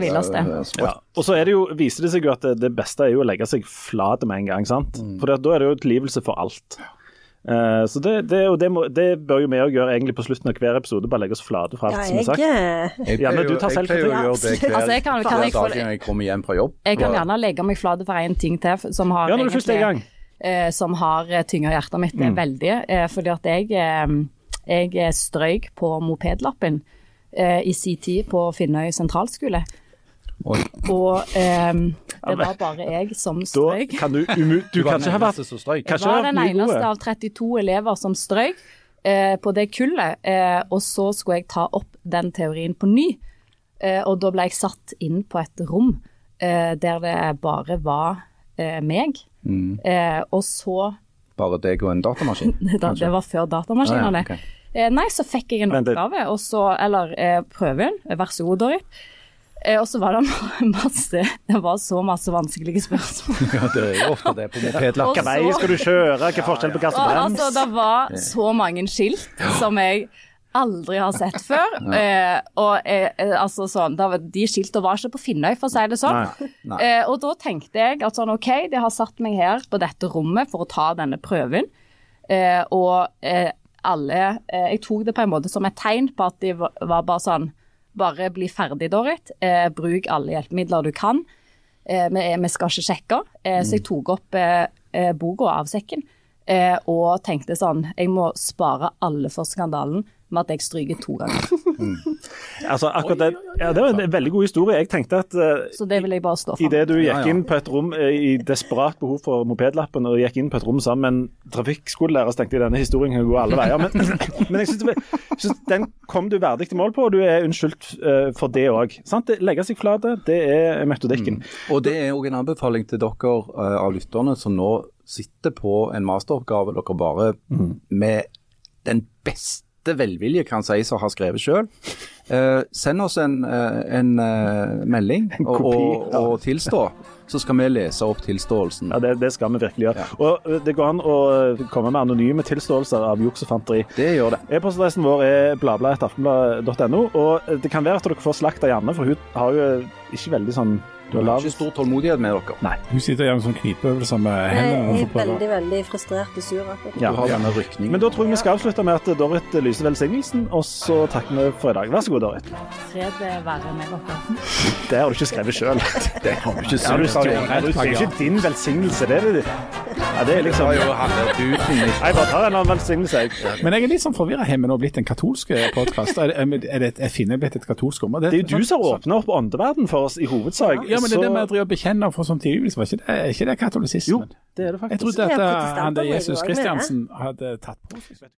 Speaker 7: villeste.
Speaker 1: Ja. Og så er det jo, viser det seg jo at det, det beste er jo å legge seg flat med en gang, sant. For da er det jo utlivelse for alt. Eh, så det, det, og det, må, det bør jo vi òg gjøre egentlig på slutten av hver episode, bare legge oss flate for alt
Speaker 3: Ja,
Speaker 1: som er sagt.
Speaker 3: jeg eh,
Speaker 6: Jeg
Speaker 1: Ja, men
Speaker 6: pleier
Speaker 1: du
Speaker 6: jo-
Speaker 1: tar
Speaker 6: jeg
Speaker 1: selv
Speaker 6: pleier jo
Speaker 3: kritikk.
Speaker 6: å gjøre det hver
Speaker 7: Altså, jeg kan- kan jeg få-
Speaker 6: hver dag jeg kommer hjem fra jobb.
Speaker 7: Jeg kan
Speaker 6: Og-
Speaker 7: gjerne legge meg flat for en ting til f- som har
Speaker 1: Ja, når du først er i gang. Mm.
Speaker 7: eh, som har eh, tynga hjertet mitt eh, veldig. Eh, fordi at jeg, eh, jeg eh, strøyk på mopedlappen eh, i sin tid på Finnøy sentralskole.
Speaker 6: Oi.
Speaker 7: Og eh, det var bare jeg som
Speaker 1: Da
Speaker 7: strøyk.
Speaker 1: kan du umu... Du, kan ikke ha vært
Speaker 6: så strøyk.
Speaker 1: kanskje
Speaker 7: Jeg
Speaker 1: vært
Speaker 7: var den
Speaker 1: mye
Speaker 7: eneste
Speaker 1: gode.
Speaker 7: av 32 elever som strøyk eh, på det kullet. Eh, og så skulle jeg ta opp den teorien på ny. Eh, og da ble jeg satt inn på et rom eh, der det bare var eh, meg. Eh, og så *laughs*
Speaker 6: Bare deg og en datamaskin.
Speaker 7: da, Det var før
Speaker 6: Ah, ja,
Speaker 7: datamaskinene.
Speaker 6: ok.
Speaker 7: eh, nei, så fikk jeg en
Speaker 1: Vent litt.
Speaker 7: oppgave, og så, eller eh, prøven. Vær så god, Dorit. Eh, og så var det *laughs* masse Det var så masse vanskelige spørsmål.
Speaker 6: Ja, det er jo ofte det på
Speaker 7: Og
Speaker 1: Hvilken
Speaker 7: så-
Speaker 6: mopedlakken.
Speaker 1: vei skal du kjøre? Hva er forskjellen på gass og
Speaker 7: Og,
Speaker 1: brems?
Speaker 7: altså, det var så mange skilt som jeg aldri har sett før. Eh, og eh, eh, altså sånn, da var- De skiltene var ikke på Finnøy, for å si det sånn. Eh, og da tenkte jeg at sånn, OK, de har satt meg her på dette rommet for å ta denne prøven. Eh, og eh, alle eh, Jeg tok det på en måte som et tegn på at de var, var bare sånn Bare bli ferdig, Dorrit. Eh, bruk alle hjelpemidler du kan. Eh, vi, vi skal ikke sjekke. Eh, Så jeg tok opp eh, eh, boka av sekken eh, og tenkte sånn Jeg må spare alle for skandalen med at jeg stryker to ganger.
Speaker 1: Altså, akkurat det, ja, det var en veldig god historie. Jeg tenkte at eh,
Speaker 7: Så det vil jeg bare stå for.
Speaker 1: Idet du gikk inn på et rom eh, i desperat behov for mopedlappen og gikk inn på et rom sammen med en trafikkskolelærer, så tenkte jeg denne historien kan gå alle veier. Men, *clears throat* men jeg synes det var- jeg synes den kom du verdig til mål på, og du er unnskyldt eh, for det òg. Legge seg flate, det er metodikken.
Speaker 2: Og det er òg en anbefaling til dere eh, av lytterne som nå sitter på en masteroppgave dere bare med den beste velvilje kan si som har skrevet sjøl. send oss en, eh, en eh, melding og, og, og tilstå, så skal vi lese opp tilståelsen.
Speaker 1: Ja, det, det skal vi virkelig gjøre. Og eh, det går an å eh, komme med anonyme tilståelser av juks og fanteri.
Speaker 2: Det gjør det.
Speaker 1: E-postadressen vår er bladbladet.aftenblad.no, og eh, det kan være at dere får slakt av Janne, for hun har jo eh, ikke veldig sånn
Speaker 2: Du har ikke stor tålmodighet med dere. Nei.
Speaker 5: Hun sitter og gjør en sånn knipeøvelse med hendene.
Speaker 3: Jeg
Speaker 5: og
Speaker 3: er
Speaker 5: får prøve.
Speaker 3: veldig, veldig frustrert og sur akkurat nå.
Speaker 1: Ja.
Speaker 2: Du har denne rykningen.
Speaker 1: Men da tror jeg vi skal avslutte med at Dorrit lyser velsignelsen, og så takker vi for i dag. Vær så god, Dorrit.
Speaker 7: Fred eh, være med dere.
Speaker 1: Det har du ikke skrevet sjøl. *laughs*
Speaker 2: det har vi ikke
Speaker 1: Ja, du
Speaker 2: sagt.
Speaker 1: sa jo det er ikke din velsignelse, det er det. Ja, det er liksom
Speaker 2: Det har jo handlet uten i
Speaker 1: Jeg bare tar en eller annen velsignelse, jeg.
Speaker 5: Men jeg er litt sånn forvirra. Har vi nå blitt en katolsk podkast? Er, er, er, det- er Finne blitt et katolsk område?
Speaker 1: Det er jo du som har åpna opp åndeverden for oss i hovedsak.
Speaker 5: Ja, men det er det vi
Speaker 1: så-
Speaker 5: driver og bekjenner for som tidligvis, var ikke det, er ikke det katolisismen?
Speaker 1: Jo, det er det
Speaker 5: Jeg
Speaker 1: faktisk.
Speaker 5: trodde at
Speaker 3: Det er
Speaker 5: eh,
Speaker 3: protestanter
Speaker 5: han der
Speaker 3: i
Speaker 5: Jesus
Speaker 3: dag, mener jeg.
Speaker 5: Kristiansen hadde tatt på seg